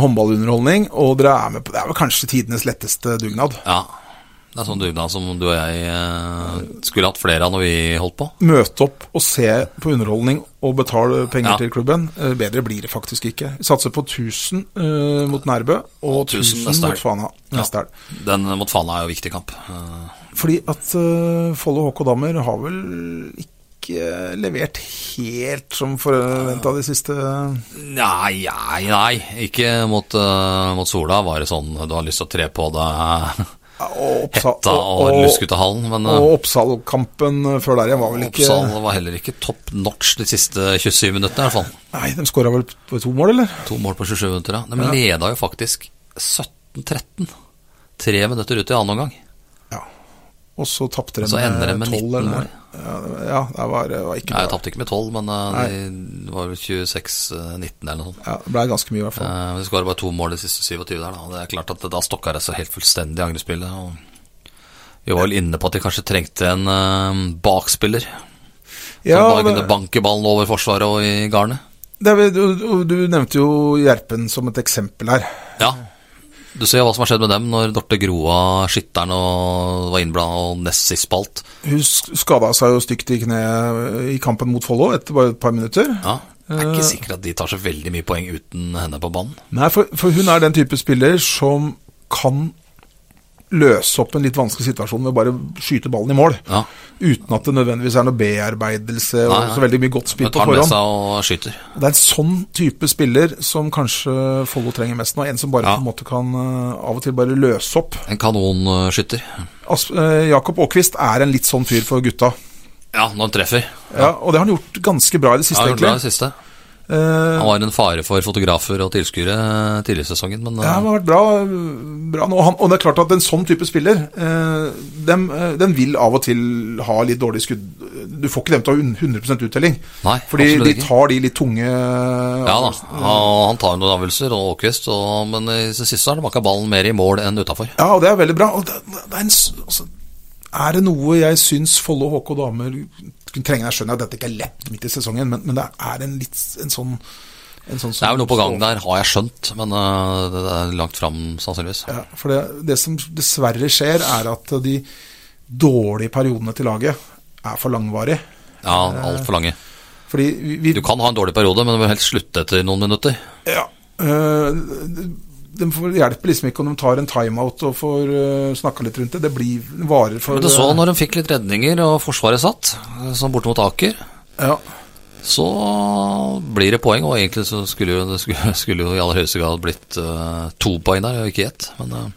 Speaker 1: håndballunderholdning, og dere er med på Det er vel kanskje tidenes letteste dugnad.
Speaker 2: Ja. Det er sånn dugnad som du og jeg eh, skulle hatt flere av når vi holdt på.
Speaker 1: Møte opp og se på underholdning og betale penger
Speaker 2: Ja.
Speaker 1: til klubben. Eh, Bedre blir det faktisk ikke. Vi Satser på 1000 eh, mot Nærbø og
Speaker 2: Og 1000
Speaker 1: 1000
Speaker 2: neste helg.
Speaker 1: mot Fana neste helg.
Speaker 2: Den mot Fana er jo en viktig kamp. Eh,
Speaker 1: Fordi at uh, Follo HK Dammer har vel ikke levert helt som forventa de siste
Speaker 2: Nei, nei, nei. Ikke mot, eh, mot Sola var det sånn du har lyst til å tre på deg
Speaker 1: Og Oppsal-
Speaker 2: hetta og, og lusk ut av hallen, men eh,
Speaker 1: og Oppsal-kampen eh, før der igjen var vel ikke
Speaker 2: Oppsal var heller ikke top notch de siste 27 minuttene, i hvert fall.
Speaker 1: Nei, de skåra vel på to mål, eller?
Speaker 2: To mål på 27 minutter, ja. De leda jo faktisk 17-13. Tre minutter ut i annen omgang.
Speaker 1: Ja. Og så tapte de
Speaker 2: Så ender de med
Speaker 1: 12 eller noe.
Speaker 2: 19 mål.
Speaker 1: Ja, det- ja, det var, det var ikke
Speaker 2: Nei,
Speaker 1: bra.
Speaker 2: jeg tapte ikke med 12, men eh, de var vel 26-19 eller noe sånt.
Speaker 1: Ja, det ble ganske mye, i hvert fall.
Speaker 2: Eh, Vi skåra bare to mål de siste 27 der, da. og Det er klart at da stokka det seg helt fullstendig i angrepsspillet. Og vi var vel inne på at de kanskje trengte en eh, bakspiller. Som
Speaker 1: Ja,
Speaker 2: bare
Speaker 1: men-
Speaker 2: kunne banke ballen over forsvaret og i garnet.
Speaker 1: det er vel- du, du nevnte jo Gjerpen som et eksempel her.
Speaker 2: Ja. Du ser hva som har skjedd med dem når Dorte Groa, skytteren, og var innblanda og nest sist på alt.
Speaker 1: Hun skada seg jo stygt i kneet i kampen mot Follo etter bare et par minutter.
Speaker 2: Ja. Jeg er ikke sikker at de tar så veldig mye poeng uten henne på banen.
Speaker 1: Nei, for, for hun er den type spiller som kan løse opp en litt vanskelig situasjon ved bare skyte ballen i mål.
Speaker 2: Ja.
Speaker 1: Uten at det nødvendigvis er noe bearbeidelse og
Speaker 2: Nei, nei.
Speaker 1: så veldig mye godt spill
Speaker 2: Men
Speaker 1: på
Speaker 2: tar med
Speaker 1: forhånd.
Speaker 2: seg og skyter.
Speaker 1: Og Det er en sånn type spiller som kanskje Follo trenger mest nå. En som bare
Speaker 2: Ja.
Speaker 1: på en måte kan eh, av og til bare løse opp.
Speaker 2: En kanonskytter.
Speaker 1: Asp eh, Jakob Aakvist er en litt sånn fyr for gutta.
Speaker 2: Ja, når han treffer.
Speaker 1: Ja, og det har han gjort ganske bra i det
Speaker 2: Ja,
Speaker 1: siste,
Speaker 2: han gjorde bra i
Speaker 1: egentlig.
Speaker 2: det siste.
Speaker 1: Eh,
Speaker 2: Han var en fare for fotografer og tilskuere eh, tidligere i sesongen, men eh,
Speaker 1: Ja, han har vært bra, bra nå. Og Han, og det er klart at en sånn type spiller, eh, dem, eh, den vil av og til ha litt dårlig skudd. Du får ikke dem til å ha un- 100 uttelling.
Speaker 2: Nei,
Speaker 1: Fordi
Speaker 2: absolutt
Speaker 1: de
Speaker 2: ikke.
Speaker 1: tar de litt tunge
Speaker 2: ja da, og han tar jo noen avgjørelser, og Åkvist, og, men i det siste har han banka ballen mer i mål enn utafor.
Speaker 1: Ja, og det er veldig bra. Og det, det er, en, s- altså, er det noe jeg syns Follo HK damer kunne trenge? Jeg skjønner at dette ikke er lett midt i sesongen, men, men det er en litt s- en sånn en sånn
Speaker 2: Det er
Speaker 1: som-
Speaker 2: vel noe på gang der, har jeg skjønt, men eh, det det er langt fram, sannsynligvis.
Speaker 1: Ja, for det, det som dessverre skjer, er at de dårlige periodene til laget er for langvarige.
Speaker 2: Ja, altfor lange.
Speaker 1: Fordi vi, vi
Speaker 2: Du kan ha en dårlig periode, men du bør helst slutte etter noen minutter.
Speaker 1: ja, øh, de får hjelper liksom ikke om de tar en timeout og får øh, snakka litt rundt det. Det blir varer for
Speaker 2: Men sånn- du så når de fikk litt redninger og forsvaret satt, eh, som borte mot Aker,
Speaker 1: eh, ja.
Speaker 2: så blir det poeng. Og egentlig så skulle jo det skulle, skulle jo i aller høyeste grad blitt eh, to poeng der, og ikke ett. Men eh,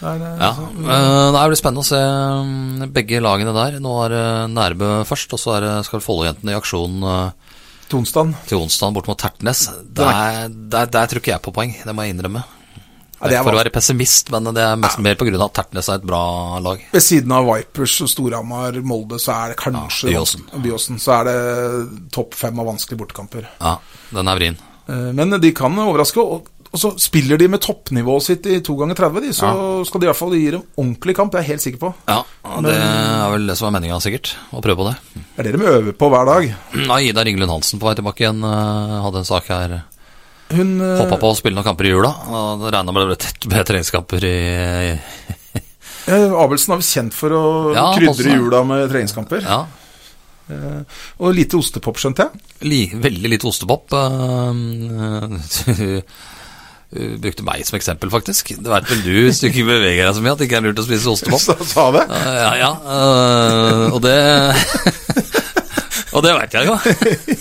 Speaker 1: Det er, det.
Speaker 2: Ja, eh, det blir spennende å se mm, begge lagene der. Nå er det Nærbø først, og så er det, skal Follo-jentene i aksjon eh,
Speaker 1: Tonsdagen.
Speaker 2: til onsdag bort mot Tertnes. Der, der, der tror ikke jeg på poeng, det må jeg innrømme.
Speaker 1: Ja, det er
Speaker 2: For å
Speaker 1: vanskelig.
Speaker 2: være pessimist, men det er mest mer på grunn av at Tertnes er et bra lag.
Speaker 1: Ved siden av Vipers og Storhamar, Molde, så er det kanskje
Speaker 2: Ja, Byåsen.
Speaker 1: Byåsen, så er det topp fem av vanskelige bortekamper.
Speaker 2: Ja, den er vrien.
Speaker 1: Eh, Men de kan overraske. Og, og så spiller de med toppnivået sitt i to ganger 30, de, så skal de i hvert fall gi dem ordentlig kamp. Det er jeg helt sikker på.
Speaker 2: Ja, og det er vel det som er meninga, sikkert. Å prøve på det.
Speaker 1: Det er det de øver på hver dag.
Speaker 2: Ja, Ida Ringelund Hansen på vei tilbake igjen eh, hadde en sak her.
Speaker 1: Hun eh,
Speaker 2: Hoppa på å spille noen kamper i jula. og Det regna med det ble tett med treningskamper i, i
Speaker 1: Eh, Abelsen er vel kjent for å
Speaker 2: Ja,
Speaker 1: krydre
Speaker 2: også.
Speaker 1: jula med treningskamper.
Speaker 2: Ja,
Speaker 1: Og lite ostepop, skjønte jeg.
Speaker 2: li, veldig lite ostepop. eh, eh, brukte meg som eksempel, faktisk. Det vet vel du, hvis du ikke beveger deg så mye, at det ikke er lurt å spise ostepop.
Speaker 1: Sa, sa det.
Speaker 2: Eh, ja, ja, eh, og det Og det veit jeg jo.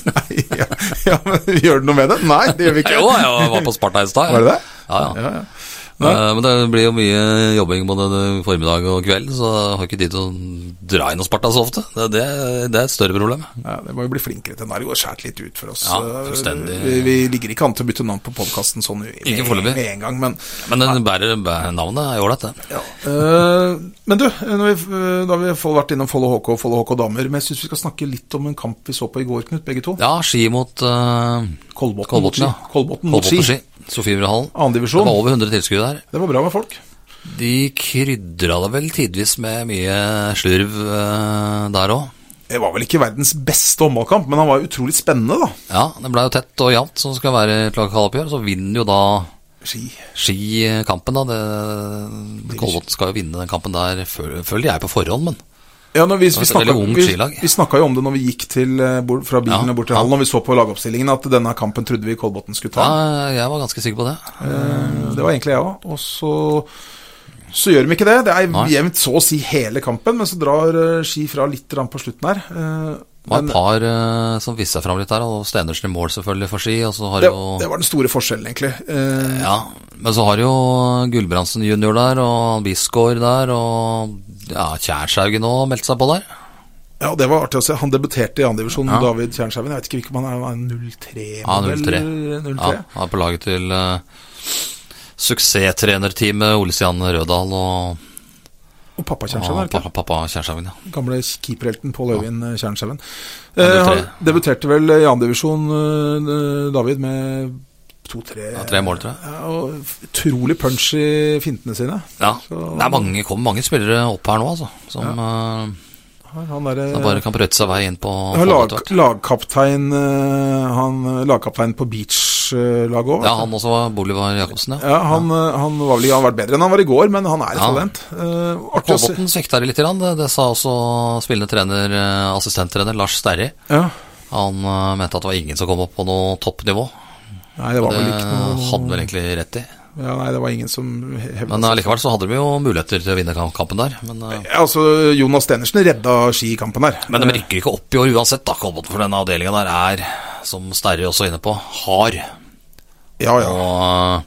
Speaker 1: Nei, ja, ja, men Gjør det noe med det? Nei, det gjør vi
Speaker 2: Jeg
Speaker 1: ikke.
Speaker 2: jo, jeg var på Sparta i stad. jeg.
Speaker 1: Var det det?
Speaker 2: Ja, ja.
Speaker 1: Ja, ja.
Speaker 2: Eh, Men det blir jo mye jobbing både formiddag og kveld, så jeg har ikke tid til å dra inn og sparta så ofte. Det, det, det er et større problem.
Speaker 1: Ja, det må jo bli flinkere til. Nå har det gått skjært litt ut for oss. Eh,
Speaker 2: Ja, fullstendig.
Speaker 1: Vi, vi ligger ikke an til å bytte navn på podkasten sånn med,
Speaker 2: Ikke foreløpig.
Speaker 1: med en gang, men
Speaker 2: Men den bærer, bærer navnet er jo ålreit, det.
Speaker 1: ja. Eh, Men du, når vi, eh, da har vi fått vært innom Follo HK og Follo HK damer, men jeg syns vi skal snakke litt om en kamp vi så på i går, Knut, begge to.
Speaker 2: Ja, ski mot uh,
Speaker 1: Kolbotn mot
Speaker 2: Kolbotn.
Speaker 1: Ski.
Speaker 2: Ja.
Speaker 1: Kolbotn mot
Speaker 2: på
Speaker 1: Ski.
Speaker 2: ski. Sofiemyrhallen.
Speaker 1: Annen
Speaker 2: Det
Speaker 1: divisjon.
Speaker 2: var over 100 tilskuere der.
Speaker 1: Det var bra med folk.
Speaker 2: De krydra det vel tidvis med mye slurv eh, der òg.
Speaker 1: Det var vel ikke verdens beste håndballkamp, men han var utrolig spennende, da.
Speaker 2: Ja, det blei jo tett og jevnt, som skal være et lokaloppgjør. Så vinner jo da
Speaker 1: Ski.
Speaker 2: Ski eh, kampen, da. Det- Kolbotn skal jo vinne den kampen der, føl- føler jeg på forhånd, men
Speaker 1: Ja, når vi, vi,
Speaker 2: et
Speaker 1: snakka,
Speaker 2: veldig ungt
Speaker 1: vi,
Speaker 2: skilag.
Speaker 1: vi snakka jo om det når vi gikk til, eh, bort, fra bilen
Speaker 2: Ja,
Speaker 1: og bort til hallen, og vi så på lagoppstillingen at denne kampen trodde vi Kolbotn skulle ta.
Speaker 2: ja, jeg var ganske sikker på det.
Speaker 1: Eh, Det var egentlig jeg òg. Og så, så gjør de ikke det. Det er jevnt så å si hele kampen, men så drar eh, Ski fra litt grann på slutten her. Eh,
Speaker 2: Det var
Speaker 1: men
Speaker 2: et par eh, som viste seg fram litt der, og Stenersen i mål selvfølgelig for Ski. Og så har
Speaker 1: det,
Speaker 2: jo
Speaker 1: det var den store forskjellen, egentlig. Eh,
Speaker 2: Ja, men så har jo Gulbrandsen junior der, og Bisgaard der, og ja, Kjærshaugen òg meldte seg på der.
Speaker 1: Ja, det var artig å se. Han debuterte i andredivisjon,
Speaker 2: Ja.
Speaker 1: divisjon David Tjernshaugen. Jeg vet ikke om han er han er 03
Speaker 2: Ja, 03.
Speaker 1: eller 03.
Speaker 2: Ja, han er på laget til eh, suksesstrenerteamet Ole Stian Rødahl og,
Speaker 1: Og pappa Tjernshaugen, er
Speaker 2: og
Speaker 1: det ikke?
Speaker 2: pappa, pappa Kjærshaugen, ja.
Speaker 1: Gamle keeperhelten Pål Øyvind eh, Tjernshaugen.
Speaker 2: Ja, 03.
Speaker 1: Eh, han debuterte vel i andredivisjon, eh, David, med to-tre
Speaker 2: Ja, tre mål, tror jeg.
Speaker 1: Ja, og utrolig punch i fintene sine.
Speaker 2: Ja,
Speaker 1: Så-
Speaker 2: det er mange, kommer mange spillere opp her nå, altså. Som eh,
Speaker 1: Her, Han derre
Speaker 2: da bare kan prøve seg vei inn på
Speaker 1: ja,
Speaker 2: Follo
Speaker 1: lag,
Speaker 2: etter hvert.
Speaker 1: lagkaptein eh, Han eh, lagkaptein på eh, beach-laget òg.
Speaker 2: Ja, han også var Bolivar Jacobsen, ja.
Speaker 1: Ja, han, eh, han var vel ikke han har vært bedre enn han var i går, men han er et
Speaker 2: Ja.
Speaker 1: talent. Eh, artig å se.
Speaker 2: Kolbotn svikta det litt, grann, det, det sa også spillende trener, eh, assistenttrener Lars Sterri.
Speaker 1: Ja.
Speaker 2: Han eh, mente at det var ingen som kom opp på noe toppnivå.
Speaker 1: Nei, det var
Speaker 2: Det
Speaker 1: vel ikke noe
Speaker 2: hadde vel egentlig rett i.
Speaker 1: ja, Nei, det var ingen som hevda
Speaker 2: Men allikevel så hadde de jo muligheter til å vinne kam- kampen der. Men, eh,
Speaker 1: Ja, altså, Jonas Stenersen redda Ski i kampen her. Eh,
Speaker 2: men de rykker ikke opp i år uansett, da, Kolbotn. For denne avdelinga der er, som Sterri også er inne på, hard.
Speaker 1: Ja, ja.
Speaker 2: Og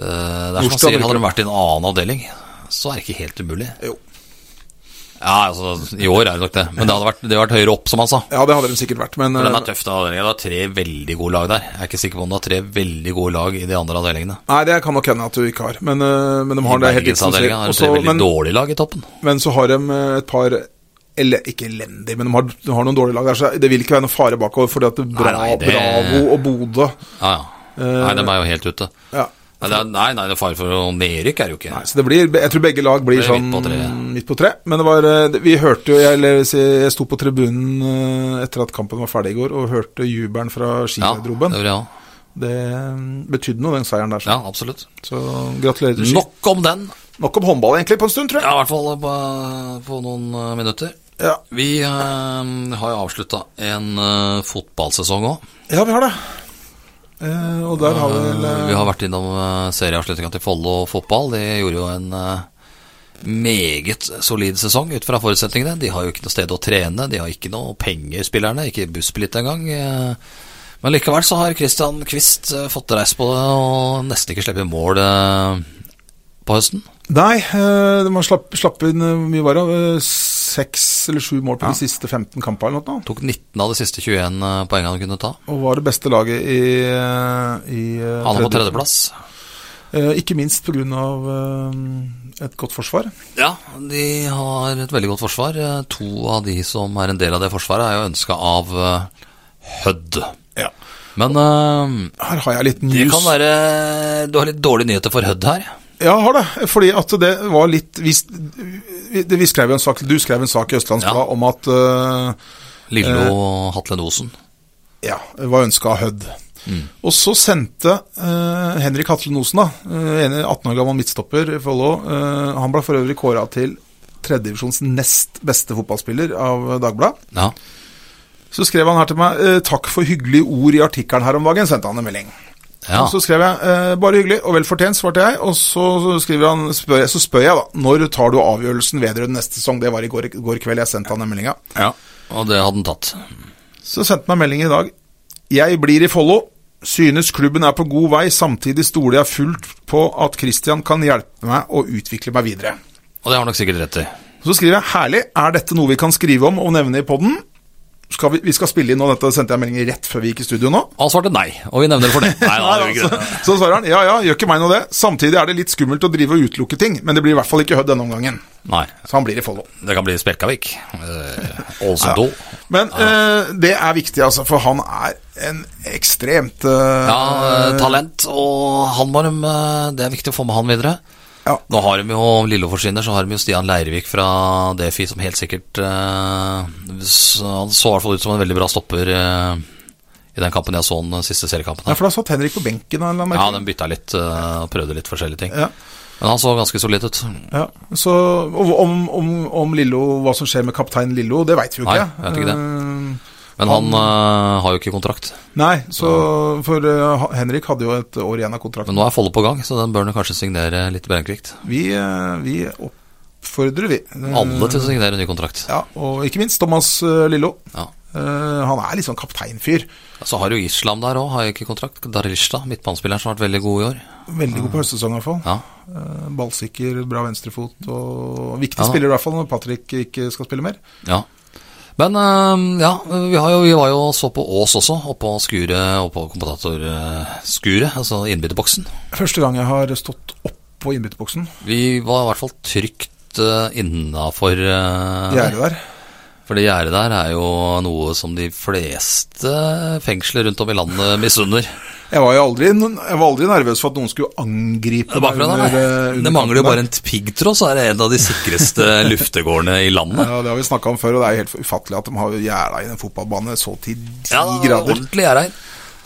Speaker 2: eh, det er som han
Speaker 1: Norstad
Speaker 2: sier,
Speaker 1: bruker-
Speaker 2: hadde de vært i en annen avdeling, så er det ikke helt umulig.
Speaker 1: Jo.
Speaker 2: Ja, altså, i år er det nok det. Men det hadde vært, det hadde vært høyere opp, som han sa.
Speaker 1: Ja, det hadde de sikkert vært, men
Speaker 2: For den er
Speaker 1: eh,
Speaker 2: tøff, den avdelingen. Det er tre veldig gode lag der. Jeg er ikke sikker på om det er tre veldig gode lag i de andre avdelingene.
Speaker 1: Nei, det kan nok hende at du ikke har, men, eh, men de har det helt riktig som du sier.
Speaker 2: Bergensavdelinga har
Speaker 1: Og
Speaker 2: tre
Speaker 1: så-
Speaker 2: veldig
Speaker 1: men-
Speaker 2: dårlige lag i toppen.
Speaker 1: Men så har de eh, et par ele, Ikke elendig, men de har, de har noen dårlige lag der, så det vil ikke være noen fare bakover. Fordi at bra,
Speaker 2: nei, det-
Speaker 1: Bravo og Bodø
Speaker 2: Ja, ja.
Speaker 1: Eh,
Speaker 2: Nei, de er jo helt ute.
Speaker 1: ja.
Speaker 2: Nei, det er, nei, nei, det er fare for å nedrykk er det jo ikke.
Speaker 1: Nei, Så det blir Jeg tror begge lag blir
Speaker 2: Det blir
Speaker 1: sånn
Speaker 2: midt på treet.
Speaker 1: midt på tre. Men det var eh, det- Vi hørte jo jeg, Eller jeg vil si, jeg sto på tribunen eh, etter at kampen var ferdig i går, og hørte jubelen fra
Speaker 2: ja, det
Speaker 1: skigarderoben.
Speaker 2: gjorde jeg også.
Speaker 1: det eh, betydde noe, den seieren der. Så,
Speaker 2: ja, absolutt.
Speaker 1: så gratulerer til Ski. Nok.
Speaker 2: Nok om den.
Speaker 1: om håndball, egentlig, på en stund, tror jeg.
Speaker 2: Ja, i hvert fall på, på noen eh, minutter.
Speaker 1: Ja,
Speaker 2: Vi eh, har jo avslutta en eh, fotballsesong òg.
Speaker 1: ja vi har det. Eh, og der har vi vel eh,
Speaker 2: Vi har vært innom eh, serieavslutninga til Follo fotball. De gjorde jo en eh, meget solid sesong ut fra forutsetningene. De har jo ikke noe sted å trene, de har ikke noe penger, spillerne. Ikke bussbillett engang. eh. Men likevel så har Christian Quist eh, fått reist på det og nesten ikke sluppet mål eh, på høsten.
Speaker 1: Nei, eh, de har slapp, slapp inn eh, hvor mye var det? Eh, Seks eller sju mål på de siste 15 kampene eller noe.
Speaker 2: Tok 19 av de siste 21 poengene han kunne ta.
Speaker 1: Og var det beste laget i, eh, i eh,
Speaker 2: Han er på
Speaker 1: tredje-
Speaker 2: tredjeplass.
Speaker 1: Eh, Ikke minst pga. eh, et godt forsvar.
Speaker 2: Ja, de har et veldig godt forsvar. Eh, To av de som er en del av det forsvaret, er jo ønska av eh, Hødd. Men eh,
Speaker 1: Her har jeg litt news.
Speaker 2: det kan være Du har litt dårlige nyheter for Hødd her.
Speaker 1: Ja, har det. Fordi at det var litt Vi, vi, vi skrev jo en sak, Du skrev en sak i Østlandsbladet
Speaker 2: Ja.
Speaker 1: om at eh,
Speaker 2: Lillo og Hatlen Osen.
Speaker 1: ja, var ønska av Hødd.
Speaker 2: Mm.
Speaker 1: Og så sendte eh, Henrik Hatlen Osen, da, eh, en 18 år gammel midtstopper i Follo eh, Han ble for øvrig kåra til tredjedivisjons nest beste fotballspiller av Dagbladet.
Speaker 2: Ja.
Speaker 1: Så skrev han her til meg eh, 'Takk for hyggelige ord i artikkelen her om dagen', sendte han en melding.
Speaker 2: ja.
Speaker 1: Og så skrev jeg eh, 'bare hyggelig og vel fortjent', svarte jeg. Og så, skriver han, spør jeg, så spør jeg da 'når tar du avgjørelsen vedrørende neste sesong'? Det var i går, går kveld jeg sendte han den meldinga.
Speaker 2: Og det hadde han tatt.
Speaker 1: Så sendte han meg melding i dag. 'Jeg blir i Follo. Synes klubben er på god vei, samtidig stoler jeg fullt på at Christian kan hjelpe meg å utvikle meg videre.
Speaker 2: Og det har han nok sikkert rett i.
Speaker 1: Så skriver jeg 'Herlig, er dette noe vi kan skrive om og nevne i podden? Skal vi, vi skal spille inn nå, dette sendte jeg melding rett før vi gikk i studio nå.
Speaker 2: Og han svarte nei, og vi nevner det for det. Nei, da, det er jo
Speaker 1: Så,
Speaker 2: ikke det.
Speaker 1: altså. så svarer han ja ja, gjør ikke meg noe det. Samtidig er det litt skummelt å drive og utelukke ting, men det blir i hvert fall ikke Hødd denne omgangen.
Speaker 2: nei,
Speaker 1: Så han blir i Follo.
Speaker 2: det kan bli Spjelkavik. Eh, Ålesund Do.
Speaker 1: Men eh, det er viktig, altså, for han er en ekstremt eh,
Speaker 2: Ja, eh, talent, og han var dem, eh, det er viktig å få med han videre.
Speaker 1: Ja.
Speaker 2: Nå har de jo Lillefors inner, så har de jo Stian Leirvik fra Defi, som helt sikkert eh, s- Han så i hvert fall ut som en veldig bra stopper eh, i den kampen jeg så den eh, siste seriekampen.
Speaker 1: Ja,
Speaker 2: Her.
Speaker 1: for da satt Henrik på benken. Eller
Speaker 2: Ja,
Speaker 1: noe.
Speaker 2: den bytta litt eh, og prøvde litt forskjellige ting.
Speaker 1: Ja.
Speaker 2: Men han så ganske solid ut.
Speaker 1: Ja, så og om, om, om Lillo, hva som skjer med kaptein Lillo, det veit vi jo
Speaker 2: Nei,
Speaker 1: ikke.
Speaker 2: jeg vet ikke det.
Speaker 1: Eh,
Speaker 2: Men han eh, har jo ikke kontrakt.
Speaker 1: Nei, så for eh, Ha- Henrik hadde jo et år igjen av kontrakten.
Speaker 2: Men nå er Folle på gang, så den bør han kanskje signere litt brennkvikt.
Speaker 1: Vi, eh, vi oppfordrer, vi. Eh,
Speaker 2: Alle til å signere ny kontrakt.
Speaker 1: Ja, og ikke minst Thomas eh, Lillo.
Speaker 2: Ja.
Speaker 1: Eh, han er litt sånn kapteinfyr.
Speaker 2: Så har jo Islam der òg, har jo ikke kontrakt. Darishta, midtbanespilleren som har vært veldig god i år.
Speaker 1: Veldig god på høstsesong, i hvert fall.
Speaker 2: Mm. Ja,
Speaker 1: Eh, ballsikker, bra venstrefot og viktig
Speaker 2: Ja.
Speaker 1: spiller, i hvert fall når Patrick ikke skal spille mer.
Speaker 2: Ja. Men eh, ja, vi, har jo, vi var jo og så på Ås også, oppå skuret, oppå kommentatorskuret, altså innbytterboksen.
Speaker 1: Første gang jeg har stått oppå innbytterboksen.
Speaker 2: Vi var i hvert fall trygt uh, innafor
Speaker 1: Gjerdet der.
Speaker 2: For det gjerdet der er jo noe som de fleste fengsler rundt om i landet misunner.
Speaker 1: Jeg var jo aldri, jeg var aldri nervøs for at noen skulle angripe
Speaker 2: Det, eh, er bare for
Speaker 1: meg
Speaker 2: det,
Speaker 1: under- eh,
Speaker 2: nei.
Speaker 1: under
Speaker 2: det mangler jo
Speaker 1: kampen
Speaker 2: bare en piggtråd, så er det en av de sikreste luftegårdene i
Speaker 1: der.
Speaker 2: landet.
Speaker 1: ja, Det har vi snakka om før, og det er jo helt ufattelig at de har gjerda i en fotballbane så til de
Speaker 2: Ja, det er
Speaker 1: grader.
Speaker 2: ordentlig gjerdein.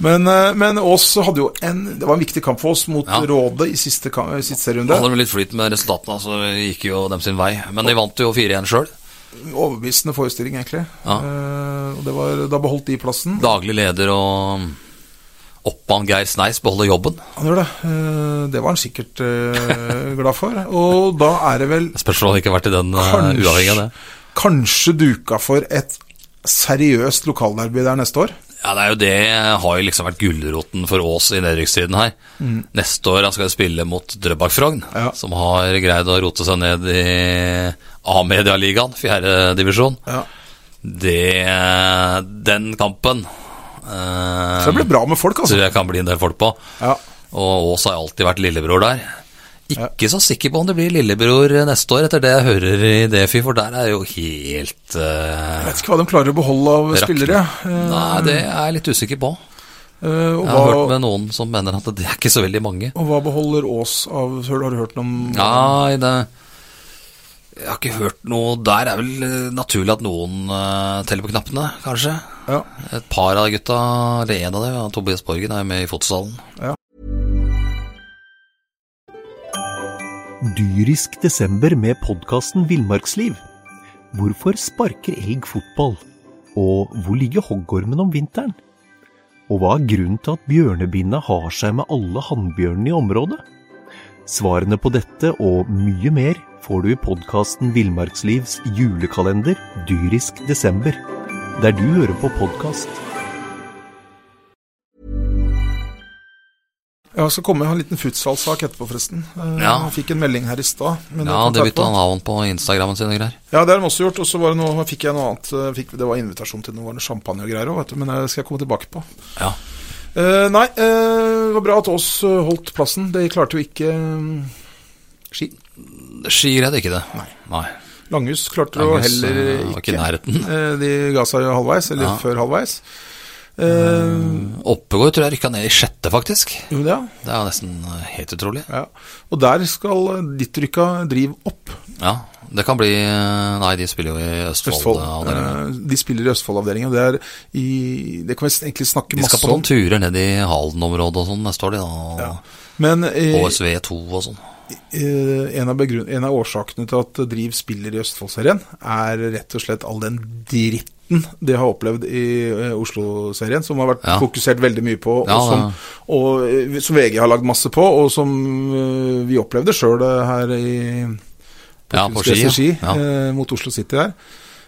Speaker 1: Men, eh, men Ås hadde jo en Det var en viktig kamp for oss mot
Speaker 2: Ja.
Speaker 1: Råde i siste, kam- i siste
Speaker 2: Da
Speaker 1: serierunde.
Speaker 2: hadde de litt flyt med resultatene, så gikk jo dem sin vei. Men de vant jo 4-1 sjøl.
Speaker 1: Overbevisende forestilling, egentlig.
Speaker 2: Ja.
Speaker 1: Eh, og det var, da beholdt de plassen.
Speaker 2: Daglig leder og oppmann Geir Sneis beholder jobben.
Speaker 1: Han gjør det. Eh, det var han sikkert eh, glad for. Og da er det vel
Speaker 2: Jeg Spørs om han ikke har vært i den eh,
Speaker 1: Kanskje.
Speaker 2: uavhengig av det.
Speaker 1: kanskje duka for et seriøst lokalderby der neste år.
Speaker 2: Ja, det er jo det har jo liksom vært gulroten for Ås i nedrykkstiden her. Neste år han skal spille mot Drøbak Frogn,
Speaker 1: Mm. Ja.
Speaker 2: som har greid å rote seg ned i A-medialigaen, fjerde divisjon.
Speaker 1: Ja.
Speaker 2: Det eh, Den kampen eh,
Speaker 1: Så det ble bra med folk, altså.
Speaker 2: tror jeg kan bli en del folk på.
Speaker 1: Ja.
Speaker 2: Og Ås har alltid vært lillebror der. Ikke så sikker på om det blir lillebror neste år, etter det jeg hører i Defi, for der er jo helt eh,
Speaker 1: Jeg vet ikke hva de klarer å beholde av
Speaker 2: Rakner.
Speaker 1: spillere. eh,
Speaker 2: Nei, det er jeg litt usikker på.
Speaker 1: eh, og,
Speaker 2: Jeg har hørt
Speaker 1: hva,
Speaker 2: med noen som mener at det er ikke så veldig mange.
Speaker 1: og hva beholder Aas av Har du hørt noe om
Speaker 2: Nei, det Jeg har ikke hørt noe Der er vel eh, naturlig at noen eh, teller på knappene, kanskje.
Speaker 1: Ja.
Speaker 2: Et par av gutta, eller én av dem, ja, Tobias Borgen, er jo med i fotsalen.
Speaker 3: Dyrisk desember med podkasten Villmarksliv. Hvorfor sparker elg fotball? Og hvor ligger hoggormen om vinteren? Og hva er grunnen til at bjørnebinna har seg med alle hannbjørnene i området? Svarene på dette og mye mer får du i podkasten Villmarkslivs julekalender Dyrisk desember, der du hører på podkast.
Speaker 1: Jeg skal komme jeg har en liten futsalsak etterpå, forresten. Eh,
Speaker 2: Ja.
Speaker 1: Jeg fikk en melding her i stad. men
Speaker 2: Ja,
Speaker 1: jeg kan ta
Speaker 2: det bytta
Speaker 1: etterpå.
Speaker 2: han navn på Instagrammen sin og greier.
Speaker 1: Ja, det har de også gjort. Og så var det noe, fikk jeg noe annet. eh, Fikk, det var invitasjon til noe var det champagne og greier òg, vet du. Men eh, det skal jeg komme tilbake på.
Speaker 2: Ja.
Speaker 1: Eh, nei, eh, det var bra at Aas eh, holdt plassen. De klarte jo ikke eh, ski.
Speaker 2: Skier er det ikke det. Nei.
Speaker 1: Langhus klarte det jo
Speaker 2: Langhus,
Speaker 1: heller
Speaker 2: eh, var ikke i
Speaker 1: ikke.
Speaker 2: nærheten.
Speaker 1: Eh, De ga seg jo halvveis, eller
Speaker 2: Ja.
Speaker 1: før halvveis. Eh,
Speaker 2: Oppegård tror jeg rykka ned i sjette, faktisk.
Speaker 1: jo, ja,
Speaker 2: Det er jo nesten eh, helt utrolig.
Speaker 1: ja. Og der skal eh, ditt rykka drive opp.
Speaker 2: Ja, det kan bli eh, Nei, de spiller jo i
Speaker 1: Østfold.
Speaker 2: Østfold. avdelingen.
Speaker 1: Eh, De spiller i Østfold-avdelingen. Det, er i- det kan vi egentlig snakke
Speaker 2: De skal
Speaker 1: masse
Speaker 2: på
Speaker 1: om.
Speaker 2: noen turer ned i Halden-området og sånn neste år, de da.
Speaker 1: Men eh,
Speaker 2: Og SV2 og sånn.
Speaker 1: eh, en, av begrunn- en av årsakene til at Driv spiller i Østfold-serien, er rett og slett all den dritten de har opplevd i eh, Oslo-serien, som har vært
Speaker 2: Ja.
Speaker 1: fokusert veldig mye på, og,
Speaker 2: Ja,
Speaker 1: som,
Speaker 2: ja.
Speaker 1: og eh, som VG har lagd masse på, og som eh, vi opplevde sjøl her i
Speaker 2: Ja, på
Speaker 1: kunstgress i
Speaker 2: ski. Ja. Ja.
Speaker 1: eh, mot Oslo City der.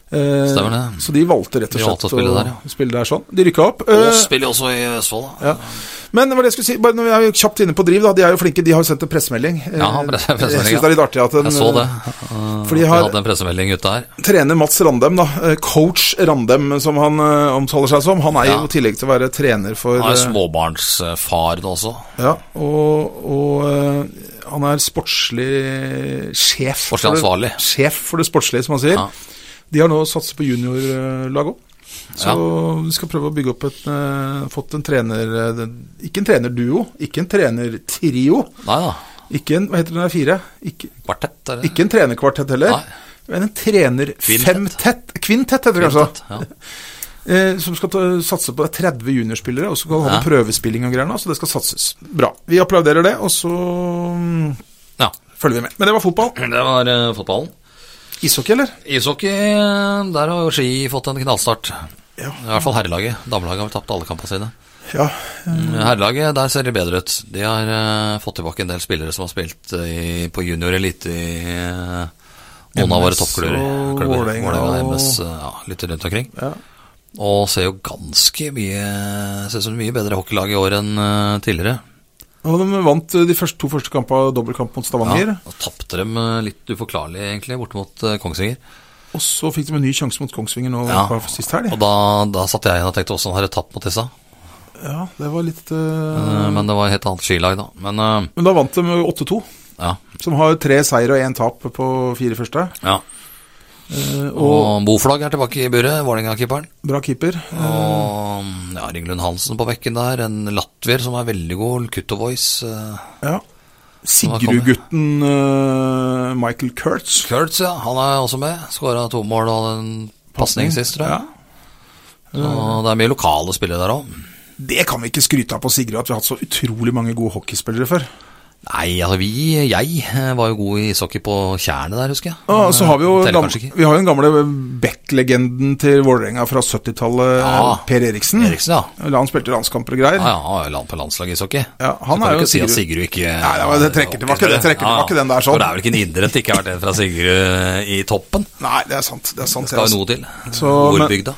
Speaker 1: Eh,
Speaker 2: Stemmer det.
Speaker 1: Så de valgte rett og
Speaker 2: De
Speaker 1: slett
Speaker 2: valgte å spille der,
Speaker 1: spille der sånn. De rykka opp. eh,
Speaker 2: Og spiller jo også i Østfold, da.
Speaker 1: ja. Men hva er det jeg skulle si, bare når vi er kjapt inne på Driv, da, de er jo flinke. De har jo sendt en pressemelding. Eh,
Speaker 2: Ja, han presse- pressemelding,
Speaker 1: Jeg syns
Speaker 2: ja.
Speaker 1: det er litt artig at en eh,
Speaker 2: Jeg så det.
Speaker 1: for
Speaker 2: Fordi
Speaker 1: de
Speaker 2: de
Speaker 1: har-
Speaker 2: hadde en pressemelding ute her.
Speaker 1: eh, trener Mats Randem, da, eh, coach Randem som han eh, omtaler seg som, han er
Speaker 2: Ja.
Speaker 1: jo i tillegg til å være trener for
Speaker 2: Han er
Speaker 1: eh,
Speaker 2: småbarnsfar da også.
Speaker 1: Ja, og, og eh, han er sportslig sjef.
Speaker 2: Sportslig ansvarlig.
Speaker 1: For det, sjef for det sportslige, som han sier.
Speaker 2: Ja.
Speaker 1: De har nå satset på juniorlag òg. Så
Speaker 2: Ja.
Speaker 1: de skal prøve å bygge opp et eh, Fått en trener eh, den- Ikke en trenerduo, ikke en trenertrio.
Speaker 2: Nei da.
Speaker 1: Ikke en Hva heter det når det er fire? Ikke,
Speaker 2: Kvartett, er det?
Speaker 1: ikke en trenerkvartett heller.
Speaker 2: Nei.
Speaker 1: Men en trenerfemtett Kvintett, heter det kanskje.
Speaker 2: Ja.
Speaker 1: Eh, som skal ta, satse på 30 juniorspillere, og så skal han ha
Speaker 2: Ja.
Speaker 1: noe prøvespilling og greier nå, så det skal satses. Bra. Vi applauderer det, og så mm,
Speaker 2: ja.
Speaker 1: følger vi med. Men det var fotball.
Speaker 2: Det var eh, fotballen.
Speaker 1: Ishockey, eller?
Speaker 2: Ishockey, eh, der har jo Ski fått en knallstart.
Speaker 1: Ja.
Speaker 2: I hvert fall herrelaget. Damelaget har tapt alle kampene sine.
Speaker 1: Ja.
Speaker 2: Eh, Herrelaget, der ser det bedre ut. De har eh, fått tilbake en del spillere som har spilt eh, i, på junior elite i eh, noen
Speaker 1: MS
Speaker 2: av våre toppklubber.
Speaker 1: og
Speaker 2: klubber.
Speaker 1: Vålerenga og-
Speaker 2: MS, eh, ja, litt rundt omkring.
Speaker 1: Ja.
Speaker 2: Og ser jo ganske mye Ser ut som et mye bedre hockeylag i år enn eh, tidligere.
Speaker 1: Og de vant eh, de første, to første kampene, dobbeltkamp mot Stavanger.
Speaker 2: Ja, og tapte dem eh, litt uforklarlig, egentlig, borte mot eh, Kongsvinger.
Speaker 1: Og så fikk de en ny sjanse mot Kongsvinger nå
Speaker 2: Ja.
Speaker 1: på sist helg.
Speaker 2: Og da, da satt jeg igjen og tenkte åssen har de tapt mot disse?
Speaker 1: Ja, det var litt
Speaker 2: Eh,
Speaker 1: eh,
Speaker 2: Men det var et helt annet skilag, da. Men eh,
Speaker 1: Men da vant de 8-2,
Speaker 2: ja.
Speaker 1: som har tre seier og én tap på fire første.
Speaker 2: ja.
Speaker 1: Eh, og
Speaker 2: Og Boflag er tilbake i buret, Vålerenga-keeperen.
Speaker 1: bra keeper. Eh,
Speaker 2: Og ja, Ringlund Hansen på bekken der. En latvier som er veldig god. Kuttovois. eh,
Speaker 1: ja. Sigrud-gutten eh, Michael Kurtz.
Speaker 2: Kurtz, ja. Han er også med. Skåra to mål og en pasning sist, tror jeg. Og det er mye lokale spillere der òg.
Speaker 1: Det kan vi ikke skryte av på Sigrud, at vi har hatt så utrolig mange gode hockeyspillere før.
Speaker 2: Nei, altså vi Jeg eh, var jo god i ishockey på tjernet der, husker jeg.
Speaker 1: Og så har vi jo
Speaker 2: Teller
Speaker 1: eh, gam-
Speaker 2: kanskje ikke.
Speaker 1: vi har jo den gamle Beck-legenden til Vålerenga fra 70-tallet,
Speaker 2: Ja.
Speaker 1: Per Eriksen.
Speaker 2: Eriksen, ja.
Speaker 1: Eller Han spilte landskamper og greier.
Speaker 2: Ja, ja, han er jo land- på landslaget i ishockey.
Speaker 1: Ja, han
Speaker 2: så
Speaker 1: er
Speaker 2: kan
Speaker 1: jo
Speaker 2: du ikke si at
Speaker 1: Sigurd-
Speaker 2: Sigurd ikke
Speaker 1: Nei, det var- det trekker tilbake, det trekker tilbake den der sånn.
Speaker 2: For det er vel ikke en idrett det ikke har vært en fra Sigurd eh, i toppen.
Speaker 1: Nei, det er sant. Det er sant
Speaker 2: Det er jo
Speaker 1: altså.
Speaker 2: noe til.
Speaker 1: Så, men-
Speaker 2: Nordbygda.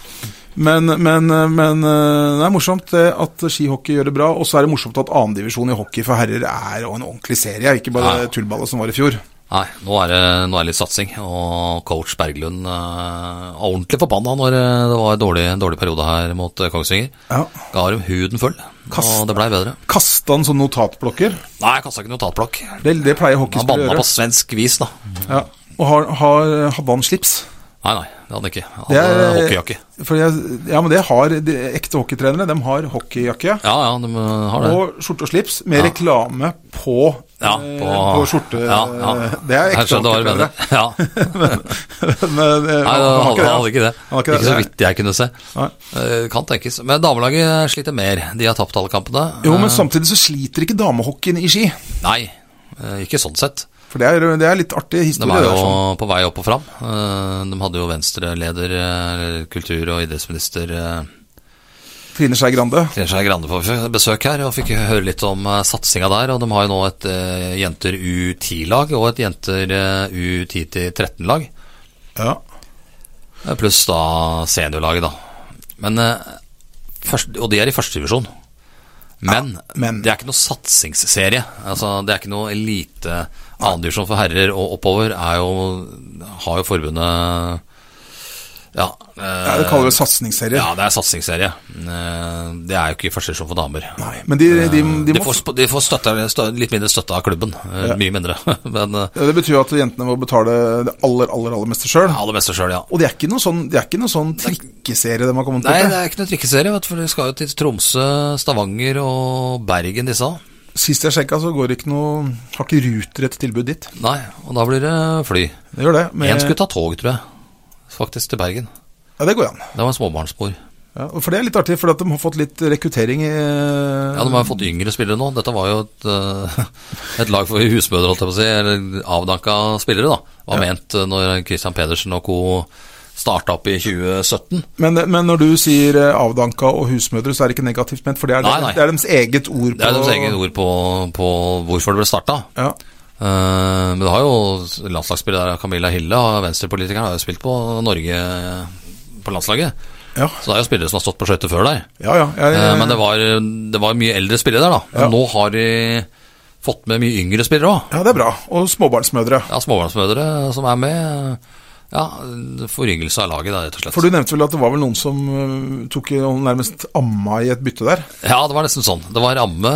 Speaker 1: Men, men, men eh, det er morsomt det at skihockey gjør det bra. Og så er det morsomt at annendivisjon i hockey for herrer er en ordentlig serie, ikke bare
Speaker 2: Ja.
Speaker 1: tullballet som var i fjor.
Speaker 2: Nei, nå er, det, nå er det litt satsing. Og coach Berglund eh, var ordentlig forbanna når eh, det var en dårlig, en dårlig periode her mot eh, Kongsvinger.
Speaker 1: Ja.
Speaker 2: Ga dem huden full,
Speaker 1: Kast-
Speaker 2: og det blei bedre.
Speaker 1: Kasta han sånne notatblokker?
Speaker 2: Nei, jeg kasta ikke notatblokk.
Speaker 1: Det, det pleier
Speaker 2: Han
Speaker 1: hockeyspillere å
Speaker 2: banna
Speaker 1: gjøre.
Speaker 2: på svensk vis, da.
Speaker 1: Ja. Og har, har, hadde han slips?
Speaker 2: Nei, nei, det hadde han ikke. Han
Speaker 1: Det
Speaker 2: hadde
Speaker 1: er-
Speaker 2: hockeyjakke.
Speaker 1: For jeg, ja, men det har de ekte hockeytrenere. De har hockeyjakke
Speaker 2: Ja, ja, de eh, har det.
Speaker 1: og skjorte og slips med reklame på,
Speaker 2: Ja,
Speaker 1: eh,
Speaker 2: på,
Speaker 1: på skjorte.
Speaker 2: Ja, ja.
Speaker 1: Det er
Speaker 2: Jeg
Speaker 1: ekte
Speaker 2: skjønner hva du
Speaker 1: hockeytrenere.
Speaker 2: mener. Ja.
Speaker 1: Men, eh,
Speaker 2: Nei,
Speaker 1: han
Speaker 2: han
Speaker 1: har
Speaker 2: hadde, han hadde
Speaker 1: ikke det.
Speaker 2: ikke det.
Speaker 1: Han har ikke
Speaker 2: Ikke så
Speaker 1: det.
Speaker 2: vidt jeg kunne se.
Speaker 1: Nei.
Speaker 2: Eh, Kan tenkes. Men damelaget sliter mer. De har tapt alle kampene.
Speaker 1: Jo,
Speaker 2: Eh,
Speaker 1: men samtidig så sliter ikke damehockeyen i ski.
Speaker 2: Nei, eh, ikke sånn sett.
Speaker 1: For det er, det er litt artig
Speaker 2: De
Speaker 1: historie.
Speaker 2: er
Speaker 1: det er sånn.
Speaker 2: jo på vei opp og fram. Eh, De hadde jo venstreleder, eh, kultur- og idrettsminister eh,
Speaker 1: Trine Skei Grande.
Speaker 2: Trine Skei Grande på besøk her, og fikk høre litt om eh, satsinga der. Og de har jo nå et eh, jenter U10-lag og et jenter eh, U10-13-lag.
Speaker 1: Ja.
Speaker 2: Eh, Pluss da seniorlaget, da. Men, eh, først, og de er i førstedivisjon. Men,
Speaker 1: men-
Speaker 2: det er ikke noe satsingsserie. Altså, det er ikke noe elite annendivisjon for herrer og oppover. Er jo, har jo forbundet ja, eh,
Speaker 1: Ja, det kaller vi satsingsserie.
Speaker 2: ja, det er satsingsserie. Eh, Det er jo ikke førstedivisjon for damer.
Speaker 1: Nei, men de, de, de,
Speaker 2: De
Speaker 1: må,
Speaker 2: får, sp- de får støtte, stø- litt mindre støtte av klubben. eh, Mye mindre. Men eh,
Speaker 1: Ja, det betyr jo at jentene må betale det aller, aller, aller meste sjøl.
Speaker 2: aller meste sjøl, ja.
Speaker 1: Og det er ikke noen sånn, det er ikke noen sånn trikkeserie de har kommet
Speaker 2: Nei, det
Speaker 1: på.
Speaker 2: er ikke noe trikkeserie, vet du, for de skal jo til Tromsø, Stavanger og Bergen, disse.
Speaker 1: Sist jeg sjekka, så går det ikke noe Har ikke Ruter et tilbud dit.
Speaker 2: Nei, og da blir det fly.
Speaker 1: Det gjør det.
Speaker 2: Én
Speaker 1: Med,
Speaker 2: skulle ta tog, tror jeg. Faktisk til Bergen.
Speaker 1: ja, det går an.
Speaker 2: Det var en småbarnsmor.
Speaker 1: Ja, og for det er litt artig, for at de har fått litt rekruttering i eh,
Speaker 2: Ja, De har jo fått yngre spillere nå. Dette var jo et, eh, et lag for husmødre, holdt jeg på å si. Eller avdanka spillere, da. Var ment eh, når Christian Pedersen og co. starta opp i 2017.
Speaker 1: Men, men når du sier eh, avdanka og husmødre, så er det ikke negativt ment, for det er,
Speaker 2: Nei, nei.
Speaker 1: Det er deres eget ord på
Speaker 2: Det er deres eget ord på, på hvorfor det ble starta.
Speaker 1: Ja.
Speaker 2: Eh, men du har jo landslagsspillere der, Camilla Hille, og venstrepolitikeren har jo spilt på Norge på landslaget.
Speaker 1: Ja.
Speaker 2: Så det er jo spillere som har stått på skøyter før der.
Speaker 1: Ja, ja. Jeg,
Speaker 2: Eh, Men det var, det var mye eldre spillere der, da.
Speaker 1: Ja.
Speaker 2: Nå har de fått med mye yngre spillere òg.
Speaker 1: ja, det er bra. Og småbarnsmødre.
Speaker 2: Ja, småbarnsmødre som er med. Ja, foryngelse av laget, da, rett og slett.
Speaker 1: For du nevnte vel at det var vel noen som eh, tok eh, nærmest amma i et bytte der?
Speaker 2: Ja, det var nesten sånn. Det var amme,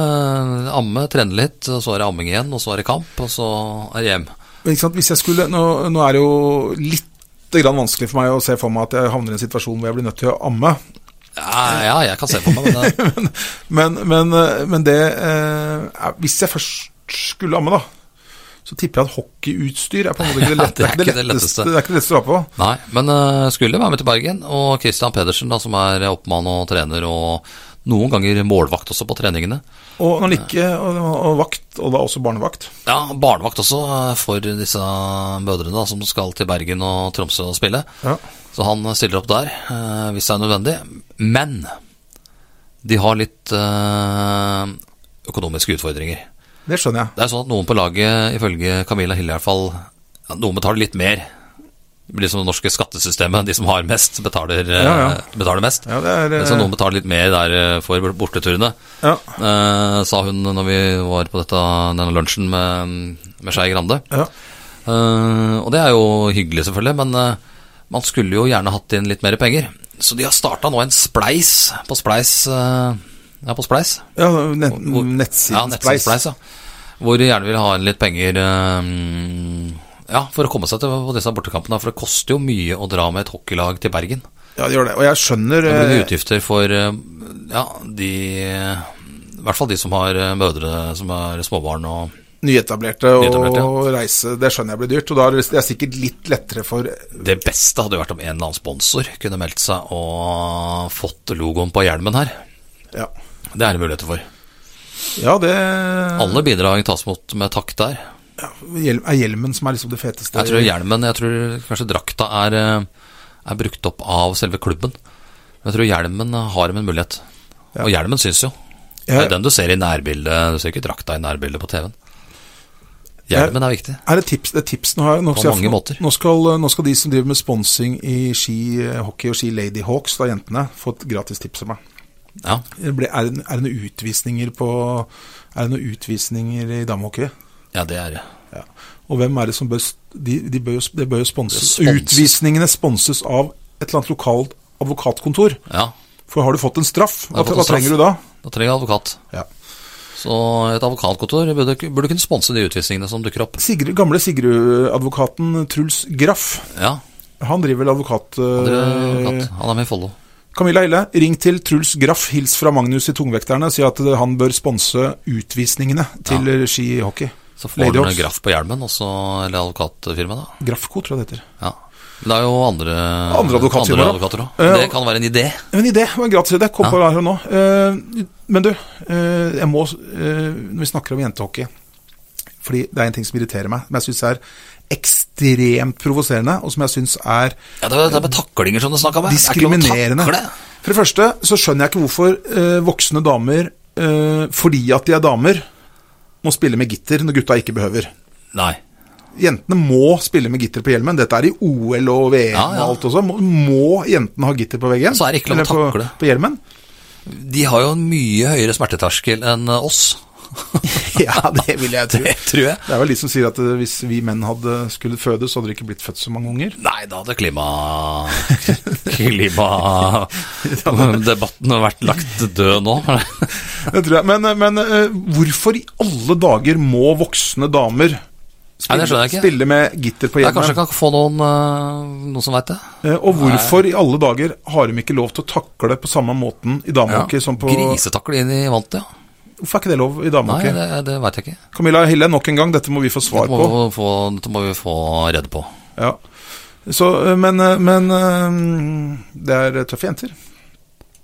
Speaker 2: amme trene litt, og så er det amming igjen, og så er det kamp, og så er det hjem.
Speaker 1: Men Ikke sant? Hvis jeg skulle, nå, nå er det jo litt grann vanskelig for meg å se for meg at jeg havner i en situasjon hvor jeg blir nødt til å amme.
Speaker 2: Ja, ja jeg kan se på meg, men eh, det,
Speaker 1: Men, men, eh, men det eh, er- Hvis jeg først skulle amme, da, så tipper jeg at hockeyutstyr er på en måte ikke det, lett, det,
Speaker 2: Ja,
Speaker 1: er ikke det letteste. Det er ikke det letteste å ha på.
Speaker 2: Nei, men eh, skulle være med til Bergen. Og Christian Pedersen, da, som er oppmann og trener, og noen ganger målvakt også på treningene.
Speaker 1: Og når han ikke og, og vakt, og da også barnevakt.
Speaker 2: Ja, barnevakt også eh, for disse mødrene da, som skal til Bergen og Tromsø og spille.
Speaker 1: Ja.
Speaker 2: Så han stiller opp der eh, hvis det er nødvendig. Men de har litt eh, økonomiske utfordringer.
Speaker 1: Det skjønner jeg.
Speaker 2: Det er sånn at noen på laget, ifølge Camilla Hille i hvert fall, ja, noen betaler litt mer. Det blir som det norske skattesystemet, de som har mest, betaler, eh,
Speaker 1: Ja, ja.
Speaker 2: betaler mest.
Speaker 1: Ja, det er, eh,
Speaker 2: Så noen betaler litt mer der eh, for borteturene.
Speaker 1: Ja.
Speaker 2: Eh, sa hun når vi var på dette, denne lunsjen med, med Skei Grande.
Speaker 1: Ja.
Speaker 2: Eh, og det er jo hyggelig, selvfølgelig, men eh, man skulle jo gjerne hatt inn litt mer penger. Så de har starta nå en spleis på Spleis. eh, ja, på Spleis.
Speaker 1: Ja, net,
Speaker 2: Hvor- Ja,
Speaker 1: nettsiden
Speaker 2: nettsiden
Speaker 1: Spleis.
Speaker 2: Spleis, ja. Hvor de gjerne vil ha inn litt penger eh, ja, for å komme seg til på disse bortekampene. For det koster jo mye å dra med et hockeylag til Bergen.
Speaker 1: Ja, det gjør det. Og jeg skjønner
Speaker 2: Det blir
Speaker 1: eh,
Speaker 2: utgifter for eh, ja, de I hvert fall de som har eh, mødre som er småbarn og
Speaker 1: nyetablerte og
Speaker 2: Nyetablerte,
Speaker 1: reise. Det skjønner jeg blir dyrt. Og da er det det er sikkert litt lettere for
Speaker 2: Det beste hadde jo vært om en eller annen sponsor kunne meldt seg og fått logoen på hjelmen her.
Speaker 1: Ja,
Speaker 2: Det er det muligheter for.
Speaker 1: ja det
Speaker 2: Alle bidrag tas imot med takk der.
Speaker 1: ja, hjelm, Er hjelmen som er liksom det feteste?
Speaker 2: Jeg tror hjelmen, jeg tror kanskje drakta er, eh, er brukt opp av selve klubben. Men jeg tror hjelmen har en mulighet. Og hjelmen syns jo. Det
Speaker 1: Ja.
Speaker 2: er den du ser i nærbildet. Du ser ikke drakta i nærbildet på TV-en. Hjelmen er viktig.
Speaker 1: er det tips, det er tips nå, her, nå,
Speaker 2: På
Speaker 1: skal jeg-
Speaker 2: mange måter.
Speaker 1: Nå skal, nå skal de som driver med sponsing i ski, eh, hockey og ski Lady Hawks, da jentene, få et gratis tips av meg.
Speaker 2: Ja.
Speaker 1: Det blir- Er det, er det noen utvisninger på Er det noen utvisninger i damehockey?
Speaker 2: ja, det er det.
Speaker 1: Ja. Og hvem er det som bør s- De, de bør jo, s- det bør jo sponses.
Speaker 2: Det sponses.
Speaker 1: Utvisningene sponses av et eller annet lokalt advokatkontor.
Speaker 2: Ja,
Speaker 1: For har du fått en straff,
Speaker 2: har
Speaker 1: hva,
Speaker 2: jeg fått
Speaker 1: hva
Speaker 2: en straff.
Speaker 1: trenger du da?
Speaker 2: da trenger jeg advokat.
Speaker 1: Ja.
Speaker 2: Så et advokatkontor burde, burde kunne sponse de utvisningene som dukker opp.
Speaker 1: Sigrid, gamle Sigrud-advokaten Truls Graff,
Speaker 2: Ja,
Speaker 1: han driver vel advokat...
Speaker 2: det er
Speaker 1: eh,
Speaker 2: advokat. han er med i Follo.
Speaker 1: Camilla Hille, ring til Truls Graff, hils fra Magnus i Tungvekterne, si at eh, han bør sponse utvisningene til eh, skihockey.
Speaker 2: Så får
Speaker 1: Lady
Speaker 2: han en
Speaker 1: Hawks.
Speaker 2: graff på hjelmen, og så- eller advokatfirmaet, da.
Speaker 1: Graffco, tror jeg det heter.
Speaker 2: Ja. Men det er jo andre,
Speaker 1: Andre advokatfirmaer, da.
Speaker 2: advokater òg.
Speaker 1: Eh,
Speaker 2: Det kan være en idé.
Speaker 1: En idé, det var en gratis idé. Kom på her nå. Eh, men du, eh, jeg må eh, Når vi snakker om jentehockey Fordi det er en ting som irriterer meg, som jeg syns er ekstremt provoserende, og som jeg syns er
Speaker 2: Ja, det er det er med taklinger som du snakka om. her. Det er ikke lov å
Speaker 1: diskriminerende.
Speaker 2: takle.
Speaker 1: For det første så skjønner jeg ikke hvorfor eh, voksne damer, eh, fordi at de er damer, må spille med gitter når gutta ikke behøver.
Speaker 2: Nei.
Speaker 1: Jentene må spille med gitter på hjelmen. Dette er i OL og VM
Speaker 2: Ja, ja.
Speaker 1: og alt også. Må, må jentene ha gitter på veggen?
Speaker 2: Så er det ikke lov å
Speaker 1: Eller på-
Speaker 2: takle.
Speaker 1: På hjelmen?
Speaker 2: De har jo en mye høyere smerteterskel enn eh, oss.
Speaker 1: Ja, det vil jeg tro.
Speaker 2: Det tror jeg.
Speaker 1: Det er vel de som sier at eh, hvis vi menn hadde skulle fødes, så hadde det ikke blitt født så mange unger.
Speaker 2: Nei, da hadde klima... Klimadebatten vært lagt død nå.
Speaker 1: Det tror jeg. Men, eh, men eh, hvorfor i alle dager må voksne damer
Speaker 2: Nei,
Speaker 1: spille,
Speaker 2: det skjønner jeg ikke.
Speaker 1: spille med gitter på
Speaker 2: Jeg kanskje
Speaker 1: hjelmen?
Speaker 2: kan få noen, eh, noen som veit det.
Speaker 1: Eh, Og hvorfor i alle dager har de ikke lov til å takle på samme måten i damehockey som sånn på
Speaker 2: Grisetakle inn i vantet, ja.
Speaker 1: Hvorfor er ikke det lov i
Speaker 2: Nei,
Speaker 1: damehockey?
Speaker 2: det, det veit jeg ikke.
Speaker 1: Camilla Hille, nok en gang, dette må vi få svar
Speaker 2: Dette må,
Speaker 1: på.
Speaker 2: vi få, dette må vi få redd på.
Speaker 1: Ja. Så, eh, men, eh, men eh, det er tøffe jenter,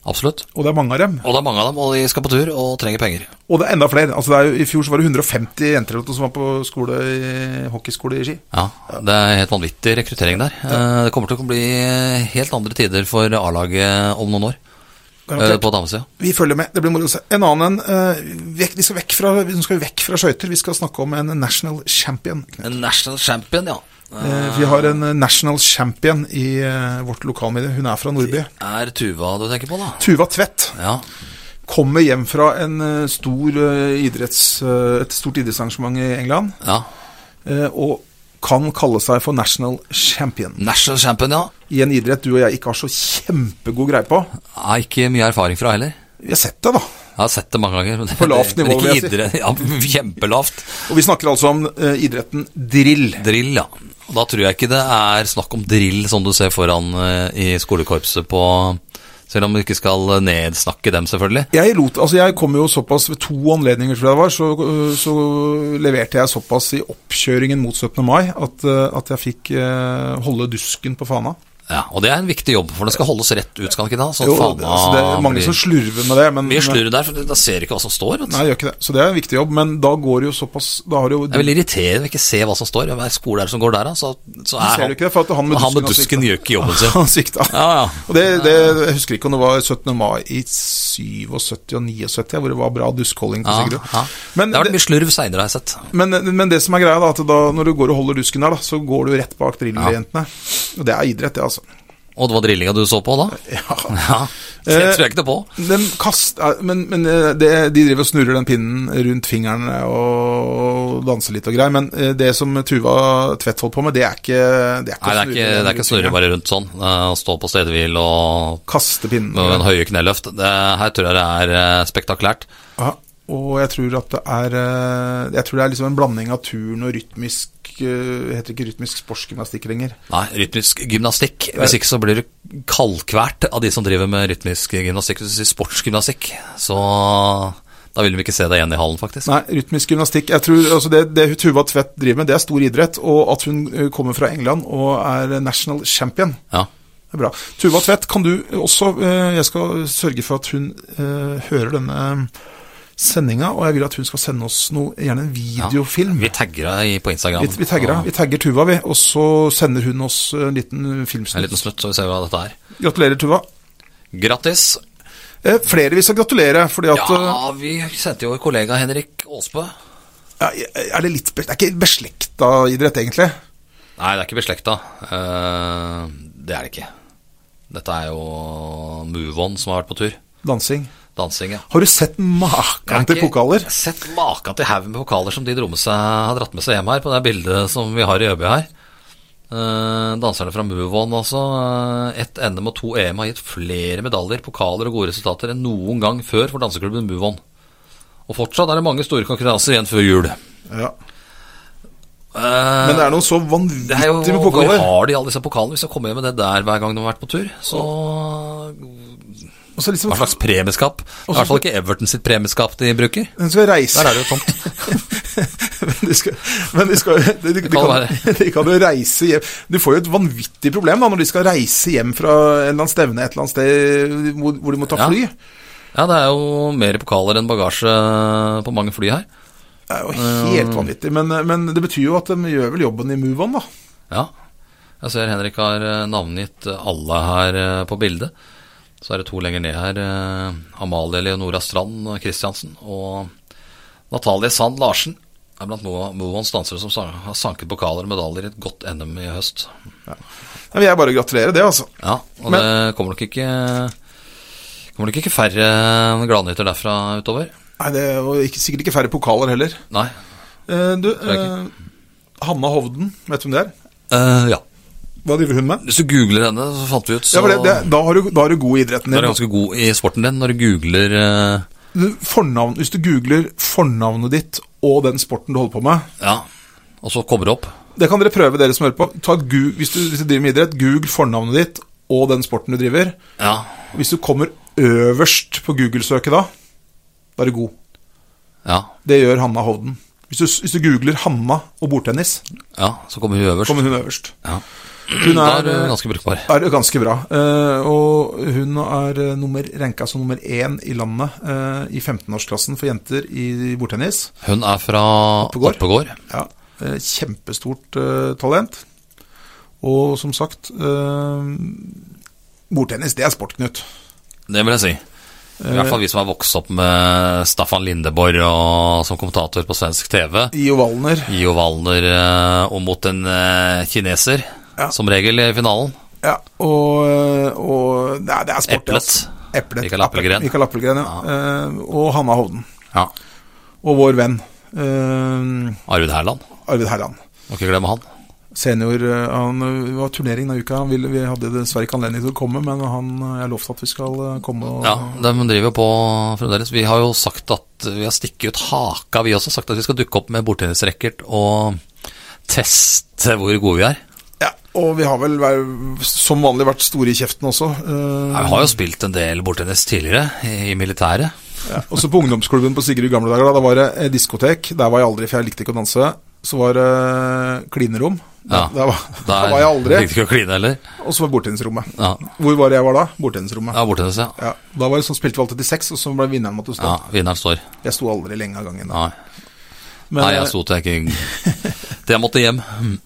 Speaker 2: Absolutt.
Speaker 1: og det er mange av dem.
Speaker 2: Og det er mange av dem, og de skal på tur og trenger penger.
Speaker 1: Og det er enda flere. Altså, det er jo, I fjor så var det 150 jenter eller noe som var på skole i, hockeyskole i Ski.
Speaker 2: Ja, det er helt vanvittig rekruttering der. Eh, Det kommer til å bli eh, helt andre tider for A-laget om noen år eh,
Speaker 1: Garantert.
Speaker 2: på damesida.
Speaker 1: Vi følger med, det blir moro å se. En annen en. eh, vekk, vi skal vekk fra, nå skal vi vekk fra skøyter. Vi skal snakke om en national champion.
Speaker 2: En National champion, ja.
Speaker 1: Eh, Vi har en eh, national champion i eh, vårt lokalmedie. Hun er fra Nordby.
Speaker 2: Er Tuva du tenker på, da?
Speaker 1: Tuva Tvedt
Speaker 2: Ja.
Speaker 1: kommer hjem fra en eh, stor eh, idretts, eh, et stort idrettsarrangement i England,
Speaker 2: ja.
Speaker 1: eh, og kan kalle seg for national champion.
Speaker 2: National champion, ja.
Speaker 1: I en idrett du og jeg ikke har så kjempegod greie på.
Speaker 2: Er ikke mye erfaring fra heller.
Speaker 1: Vi har sett det, da.
Speaker 2: Jeg har sett det mange ganger. men-
Speaker 1: På lavt nivå,
Speaker 2: men
Speaker 1: vil jeg
Speaker 2: ikke idrett. Ja, kjempelavt.
Speaker 1: Og vi snakker altså om eh, idretten drill.
Speaker 2: Drill, ja. Og da tror jeg ikke det er snakk om drill som du ser foran eh, i skolekorpset på Selv om du ikke skal eh, nedsnakke dem, selvfølgelig.
Speaker 1: Jeg lot, altså jeg kom jo såpass ved to anledninger tror jeg det var, så, øh, så leverte jeg såpass i oppkjøringen mot 17. mai at, øh, at jeg fikk øh, holde dusken på fana.
Speaker 2: Ja, Og det er en viktig jobb, for det skal holdes rett ut, skal det ikke da? Så
Speaker 1: Jo,
Speaker 2: faen,
Speaker 1: det, altså det er mange
Speaker 2: blir
Speaker 1: som slurver med det, men
Speaker 2: Mye slurv der, for da ser du ikke hva som står. Vet du.
Speaker 1: Nei, jeg gjør ikke det. Så det er en viktig jobb, men da går det jo såpass Da har det jo
Speaker 2: Det er veldig irriterende å ikke se hva som står. Hver skole er det som går der, da, så, så
Speaker 1: ser
Speaker 2: er han,
Speaker 1: jo ikke det, for at han med
Speaker 2: han med
Speaker 1: dusken har
Speaker 2: dusken gjør ikke jobben sin.
Speaker 1: han sikta.
Speaker 2: Ja, ja.
Speaker 1: Og det, det, jeg husker ikke om det var 17. mai i 77 og 79, hvor det var bra duskholding på
Speaker 2: Ja,
Speaker 1: Sigrud.
Speaker 2: ja.
Speaker 1: Men
Speaker 2: det har vært mye slurv seinere, har jeg sett.
Speaker 1: Men, men det som er greia, da, at da, når du går og holder dusken der, da, så går du rett bak drillerjentene. Og det er idrett, det, altså.
Speaker 2: Og det var drillinga du så på da?
Speaker 1: Ja.
Speaker 2: Ja, det tror jeg ikke det på.
Speaker 1: Den kast, eh, men men eh, det, de driver og snurrer den pinnen rundt fingeren eh, og danser litt og greier. Men eh, det som Tuva Tvedt holdt på med, det er ikke Det er ikke,
Speaker 2: Nei,
Speaker 1: å
Speaker 2: det er
Speaker 1: snurre
Speaker 2: ikke,
Speaker 1: den
Speaker 2: det er ikke
Speaker 1: rundt
Speaker 2: å snurre
Speaker 1: fingeren.
Speaker 2: bare rundt sånn. eh, Å stå på stedehvil og
Speaker 1: Kaste pinnen.
Speaker 2: med en høye kneløft. Det, her tror jeg det er eh, spektakulært.
Speaker 1: Ja, og jeg tror at det er eh, Jeg tror det er liksom en blanding av turn og rytmisk eh, Heter det ikke rytmisk sportsgymnastikk lenger.
Speaker 2: Nei, rytmisk gymnastikk. Hvis ikke så blir du kaldkvært av de som driver med rytmisk gymnastikk. Hvis du sier sportsgymnastikk, så da vil de ikke se deg igjen i hallen, faktisk.
Speaker 1: Nei, rytmisk gymnastikk. Jeg tror altså det, det Tuva Tvedt driver med, det er stor idrett. Og at hun eh, kommer fra England og er national champion,
Speaker 2: Ja.
Speaker 1: det er bra. Tuva Tvedt, kan du også eh, Jeg skal sørge for at hun eh, hører denne sendinga, og jeg vil at hun skal sende oss noe, gjerne en videofilm.
Speaker 2: Vi tagger deg i- på Instagram.
Speaker 1: Vi, vi tagger henne. Vi tagger Tuva, vi. Og så sender hun oss eh, en liten
Speaker 2: En liten
Speaker 1: filmsnutt.
Speaker 2: snutt, så vi ser hva dette er.
Speaker 1: Gratulerer, Tuva.
Speaker 2: Grattis.
Speaker 1: Eh, flere vi skal gratulere, fordi at eh,
Speaker 2: Ja, vi sendte jo kollega Henrik Aasbø.
Speaker 1: eh, ja, Er det litt be- Det er ikke beslekta idrett, egentlig?
Speaker 2: Nei, det er ikke beslekta. Eh, det er det ikke. Dette er jo Move-On som har vært på tur.
Speaker 1: Dansing.
Speaker 2: Dansing, ja.
Speaker 1: Har du sett
Speaker 2: Jeg har
Speaker 1: maken til
Speaker 2: ikke
Speaker 1: pokaler?
Speaker 2: Sett maken til haugen med pokaler som de dro med seg, har dratt med seg hjem her, på det bildet som vi har i Øby her. Eh, danserne fra Move-On også. Eh, Ett NM og to EM har gitt flere medaljer, pokaler og gode resultater enn noen gang før for danseklubben Move-On. Og fortsatt er det mange store konkurranser igjen før jul.
Speaker 1: Ja.
Speaker 2: Eh,
Speaker 1: Men det er noe så
Speaker 2: Det er jo,
Speaker 1: vanvittig med
Speaker 2: hvor
Speaker 1: pokaler.
Speaker 2: har de alle disse pokalene? Hvis jeg kommer hjem med det der hver gang de har vært på tur, så
Speaker 1: Og så liksom,
Speaker 2: Hva slags premieskap? Det er i hvert fall ikke Everton sitt premieskap de bruker.
Speaker 1: den skal reise
Speaker 2: Der er det jo tomt.
Speaker 1: Men de skal, men de, skal de, de, de,
Speaker 2: kan
Speaker 1: kan, de kan jo reise hjem Du får jo et vanvittig problem da når de skal reise hjem fra en eller annen stevne et eller annet sted hvor, hvor de må ta
Speaker 2: Ja.
Speaker 1: fly.
Speaker 2: Ja, det er jo mer pokaler enn bagasje på mange fly her.
Speaker 1: Det er jo
Speaker 2: Eh.
Speaker 1: helt vanvittig. Men, men det betyr jo at de gjør vel jobben i Move-On, da.
Speaker 2: Ja. Jeg ser Henrik har eh, navngitt alle her eh, på bildet. Så er det to lenger ned her. eh, Amalie Leonora Strand Christiansen og Natalie Sand Larsen er blant Mo- Moans dansere som sa- har sanket pokaler og medaljer i et godt NM i høst.
Speaker 1: Ja, men jeg bare gratulerer det, altså.
Speaker 2: Ja, og
Speaker 1: Men-
Speaker 2: det kommer nok ikke Kommer nok ikke færre gladnyheter derfra utover.
Speaker 1: Nei, det er jo ikke, sikkert ikke færre pokaler heller.
Speaker 2: Nei.
Speaker 1: Eh, du,
Speaker 2: jeg
Speaker 1: eh, Hanna Hovden, vet du hvem det er?
Speaker 2: Eh, ja.
Speaker 1: Hva driver hun med?
Speaker 2: Hvis du googler henne, så fant vi ut, så
Speaker 1: Ja, for det, det, da, har du, da har du god i idretten
Speaker 2: Du
Speaker 1: din.
Speaker 2: er ganske god i sporten din når du googler eh,
Speaker 1: Du, fornavn, hvis du googler fornavnet ditt og den sporten du holder på med
Speaker 2: Ja, og så kommer det opp.
Speaker 1: Det kan dere prøve, dere som hører på. Ta et gu- hvis, du, hvis du driver med idrett, google fornavnet ditt og den sporten du driver.
Speaker 2: Ja.
Speaker 1: Hvis du kommer øverst på Google-søket da, da er du god.
Speaker 2: Ja.
Speaker 1: Det gjør Hanna Hovden. Hvis du, hvis du googler Hanna og bordtennis,
Speaker 2: ja så kommer hun øverst.
Speaker 1: kommer hun øverst.
Speaker 2: Ja.
Speaker 1: Hun
Speaker 2: Da
Speaker 1: er,
Speaker 2: er du
Speaker 1: eh,
Speaker 2: ganske brukbar.
Speaker 1: er ganske bra. Eh, og hun er eh, nummer, ranka som nummer én i landet eh, i 15-årsklassen for jenter i bordtennis.
Speaker 2: Hun er fra
Speaker 1: Oppegård.
Speaker 2: Oppegård.
Speaker 1: Ja, eh, kjempestort eh, talent. Og som sagt eh, Bordtennis, det er sport, Knut.
Speaker 2: Det vil jeg si. I hvert fall vi som har vokst opp med Staffan Lindeborg og, som kommentator på svensk TV.
Speaker 1: Io Wallner.
Speaker 2: Io Wallner eh, og mot en eh, kineser,
Speaker 1: Ja.
Speaker 2: som regel, i finalen.
Speaker 1: Ja, og, eh, og nei, det er sport. det,
Speaker 2: Eplet.
Speaker 1: altså. Eplet.
Speaker 2: Mikael Appelgren.
Speaker 1: Mikael Appelgren, ja. Eh, og Hanna Hovden.
Speaker 2: Ja.
Speaker 1: Og vår venn eh,
Speaker 2: Arvid Herland.
Speaker 1: Arvid Herland.
Speaker 2: Må ikke glemme han.
Speaker 1: Senior eh, Han eh, var turnering denne uka. Han ville, vi hadde dessverre ikke anledning til å komme, men han, eh, jeg lovte at vi skal eh, komme. Og,
Speaker 2: Ja, De driver jo på fremdeles. Vi har jo sagt at vi har stikket ut haka, vi også. Sagt at vi skal dukke opp med bordtennisracket og teste hvor gode vi er.
Speaker 1: Ja, og vi har vel vært- som vanlig vært store i kjeften også. eh,
Speaker 2: Ja, vi har jo spilt en del bordtennis tidligere, i, i militæret.
Speaker 1: Ja, og så på ungdomsklubben på Sigrud i gamle dager, da, da var det eh, diskotek. Der var jeg aldri, for jeg likte ikke å danse. Så var det eh, klinerom.
Speaker 2: Ja.
Speaker 1: Der, var, der var jeg aldri.
Speaker 2: Likte ikke å kline heller.
Speaker 1: Og så var det bordtennisrommet.
Speaker 2: Ja,
Speaker 1: Hvor var det jeg var da? Bordtennisrommet.
Speaker 2: ja bordtennis, ja.
Speaker 1: Ja, da var det sånn, spilte vi alltid til seks, og så ble vinneren måtte stå.
Speaker 2: ja. Vinneren står.
Speaker 1: Jeg sto aldri lenge av gangen. Da.
Speaker 2: Nei,
Speaker 1: Men, eh,
Speaker 2: Nei jeg sto til jeg ikke Til jeg måtte hjem.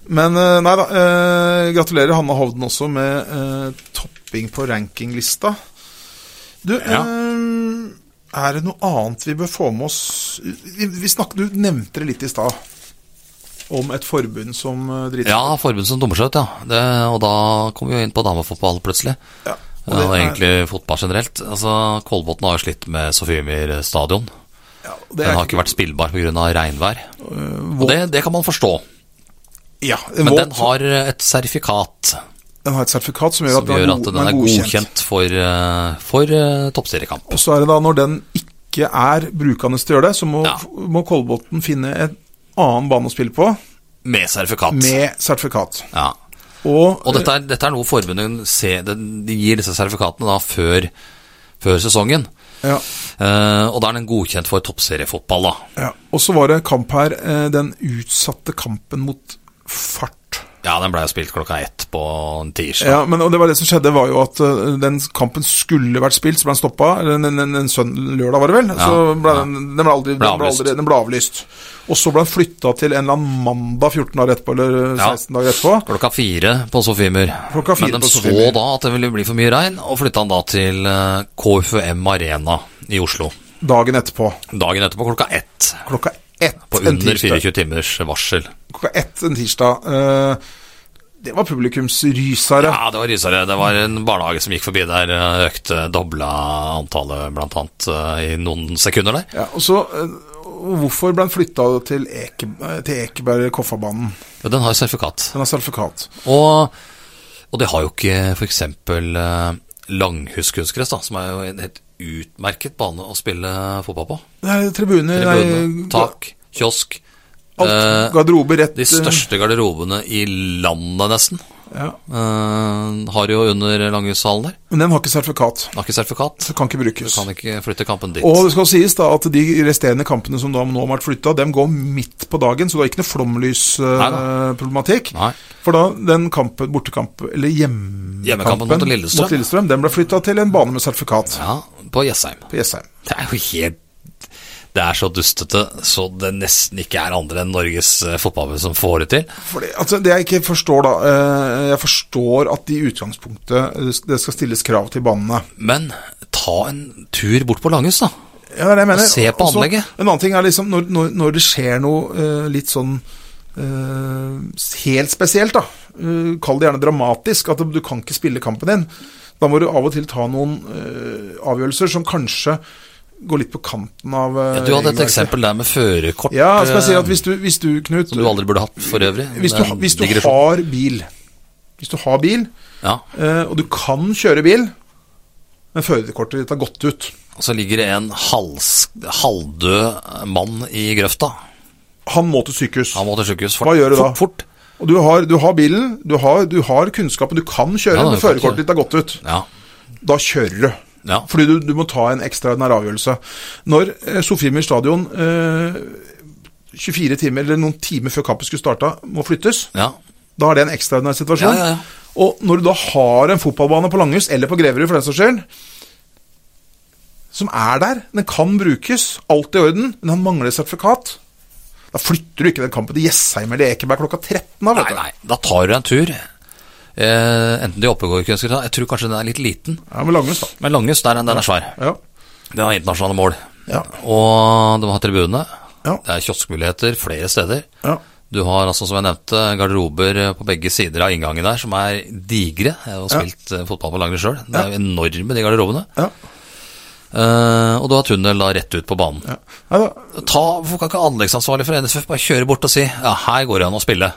Speaker 1: men, eh, nei da. Eh, gratulerer Hanna Hovden også med eh, topping på rankinglista. Du,
Speaker 2: Ja.
Speaker 1: eh, er det noe annet vi bør få med oss vi, vi snakket, Du nevnte det litt i stad. Om et forbund som eh, driter
Speaker 2: Ja, forbund som dummer seg ut, ja. Det, og da kom vi jo inn på damefotball plutselig.
Speaker 1: Ja,
Speaker 2: Og,
Speaker 1: det er-
Speaker 2: egentlig fotball generelt. Altså, Kolbotn har jo slitt med Sofiemyr stadion.
Speaker 1: ja, det er
Speaker 2: Den har ikke vært spillbar pga. regnvær.
Speaker 1: øh,
Speaker 2: Og
Speaker 1: våt-
Speaker 2: det, det kan man forstå.
Speaker 1: ja,
Speaker 2: Men
Speaker 1: våt-
Speaker 2: den har eh, et sertifikat
Speaker 1: den har et sertifikat som gjør at,
Speaker 2: som gjør at
Speaker 1: go-
Speaker 2: den er godkjennt for, eh, for eh, toppseriekamp.
Speaker 1: Og så er det da, når den ikke er brukende til å gjøre det, så må,
Speaker 2: Ja.
Speaker 1: må Kolbotn finne en annen bane å spille på
Speaker 2: Med sertifikat.
Speaker 1: med sertifikat.
Speaker 2: Ja.
Speaker 1: Og,
Speaker 2: Og dette er, dette er noe forbundet ser, den- de gir disse sertifikatene da før, før sesongen.
Speaker 1: ja,
Speaker 2: Eh, og da er den godkjent for toppseriefotball, da.
Speaker 1: ja. og så var det kamp her, eh, den utsatte kampen mot fart.
Speaker 2: Ja, den blei jo spilt klokka ett på en tirsdag.
Speaker 1: Ja, men og det var det som skjedde, var jo at eh, den kampen skulle vært spilt, så ble den stoppa. Eller en, en, en søn, lørdag, var det vel?
Speaker 2: Ja,
Speaker 1: så ble
Speaker 2: ja.
Speaker 1: den, den, ble aldri, den, ble
Speaker 2: avlyst.
Speaker 1: aldri, den ble avlyst. Og så ble den flytta til en eller annen mandag 14 dager etterpå, eller
Speaker 2: Ja.
Speaker 1: 16 dager etterpå.
Speaker 2: Klokka fire på Sofiemyr.
Speaker 1: Klokka fire
Speaker 2: Men
Speaker 1: på
Speaker 2: de så
Speaker 1: Sofiemyr.
Speaker 2: da at det ville bli for mye regn, og flytta den da til eh, KFUM Arena i Oslo.
Speaker 1: Dagen etterpå.
Speaker 2: Dagen etterpå klokka ett.
Speaker 1: Klokka ett
Speaker 2: På
Speaker 1: en
Speaker 2: under
Speaker 1: tirsdag.
Speaker 2: 24 timers varsel.
Speaker 1: Klokka ett en tirsdag. eh, det var publikumsrysere.
Speaker 2: Ja, det var rysere. Det var en barnehage som gikk forbi der, eh, økte, dobla antallet blant annet eh, i noen sekunder der.
Speaker 1: Ja, og så eh, og Hvorfor ble den flytta til, Eke, eh, til Ekeberg-Koffabanen?
Speaker 2: Ja, Den har jo sertifikat.
Speaker 1: Den har sertifikat.
Speaker 2: Og, og det har jo ikke for eksempel eh, langhuskkunstgress, da, som er jo en helt utmerket bane å spille fotball på.
Speaker 1: Det er tribuner,
Speaker 2: Tribune,
Speaker 1: nei,
Speaker 2: tak, kiosk.
Speaker 1: Alt.
Speaker 2: Eh,
Speaker 1: Garderobe rett
Speaker 2: de største garderobene i landet, nesten,
Speaker 1: Ja.
Speaker 2: eh, har jo under Langhushallen der.
Speaker 1: Men den har ikke sertifikat.
Speaker 2: Har ikke sertifikat.
Speaker 1: Så kan ikke brukes.
Speaker 2: Kan ikke flytte kampen dit.
Speaker 1: Og det skal sies da at de resterende kampene som da nå har vært flytta, dem går midt på dagen, så det er ikke noe
Speaker 2: Neida.
Speaker 1: flomlysproblematikk.
Speaker 2: Nei.
Speaker 1: For da den kampen, bortekamp, eller hjemmekampen
Speaker 2: Hjemmekampen mot Lillestrøm.
Speaker 1: den ble flytta til en bane med sertifikat
Speaker 2: Ja, på Jessheim.
Speaker 1: på Jessheim.
Speaker 2: Det er jo helt Det er så dustete så det nesten ikke er andre enn Norges eh, fotballforbund som får det til.
Speaker 1: Fordi, altså, det jeg ikke forstår da eh, Jeg forstår at de i utgangspunktet eh, det skal stilles krav til banene.
Speaker 2: Men ta en tur bort på Langhus, da.
Speaker 1: Ja, det er det jeg mener.
Speaker 2: Se på
Speaker 1: Også,
Speaker 2: anlegget.
Speaker 1: En annen ting er liksom når, når, når det skjer noe eh, litt sånn eh, helt spesielt, da. Eh, kall det gjerne dramatisk, at du kan ikke spille kampen din. Da må du av og til ta noen eh, avgjørelser som kanskje går litt på kanten av eh,
Speaker 2: Ja, du hadde et
Speaker 1: regelverket.
Speaker 2: eksempel der med førerkort,
Speaker 1: Ja, skal jeg si at
Speaker 2: eh,
Speaker 1: hvis du, hvis du Knut
Speaker 2: som du aldri burde hatt for øvrig.
Speaker 1: hvis,
Speaker 2: Det
Speaker 1: du,
Speaker 2: er en
Speaker 1: hvis du
Speaker 2: digresjon.
Speaker 1: har bil Hvis du har bil,
Speaker 2: Ja,
Speaker 1: eh, og du kan kjøre bil, men førerkortet ditt har gått ut
Speaker 2: og så ligger det en hals, halvdød mann i grøfta.
Speaker 1: Han må til sykehus.
Speaker 2: Han må til sykehus fort.
Speaker 1: Hva gjør du da?
Speaker 2: Fort, fort.
Speaker 1: Og du har, du har bilen, du har, du har kunnskapen, du kan kjøre,
Speaker 2: Ja, da,
Speaker 1: men
Speaker 2: du kan kjøre.
Speaker 1: førerkortet ditt er gått ut.
Speaker 2: Ja,
Speaker 1: Da kjører du.
Speaker 2: ja.
Speaker 1: Fordi du, du må ta en ekstraordinær avgjørelse. Når eh, Sofiemyr stadion eh, 24 timer eller noen timer før kampen skulle starta, må flyttes,
Speaker 2: ja.
Speaker 1: da er det en ekstraordinær situasjon.
Speaker 2: Ja, ja, ja.
Speaker 1: Og når du da har en fotballbane på Langhus, eller på Greverud for den saks skyld, som er der, den kan brukes, alt i orden, men han mangler sertifikat, da flytter du ikke den kampen til Jessheim eller Ekeberg klokka 13. Da, vet
Speaker 2: Nei,
Speaker 1: du.
Speaker 2: nei, da tar du en tur. Eh, enten de oppegående kunstnere Jeg tror kanskje den er litt liten.
Speaker 1: Ja, med Langhus, da.
Speaker 2: Men Langhus, der, den er svær.
Speaker 1: Ja.
Speaker 2: Det er internasjonale mål.
Speaker 1: Ja.
Speaker 2: Og de har tribune.
Speaker 1: Ja.
Speaker 2: Det er kioskmuligheter flere steder.
Speaker 1: Ja.
Speaker 2: Du har altså, som jeg nevnte, garderober på begge sider av inngangen der, som er digre. Jeg har jo spilt eh, fotball på Langen sjøl. Det er jo enorme, de garderobene.
Speaker 1: ja.
Speaker 2: Eh, og du har tunnel da rett ut på banen.
Speaker 1: ja. Nei da.
Speaker 2: Ta, Hvorfor kan ikke anleggsansvarlig for NSF bare kjøre bort og si ja, her går det an å spille.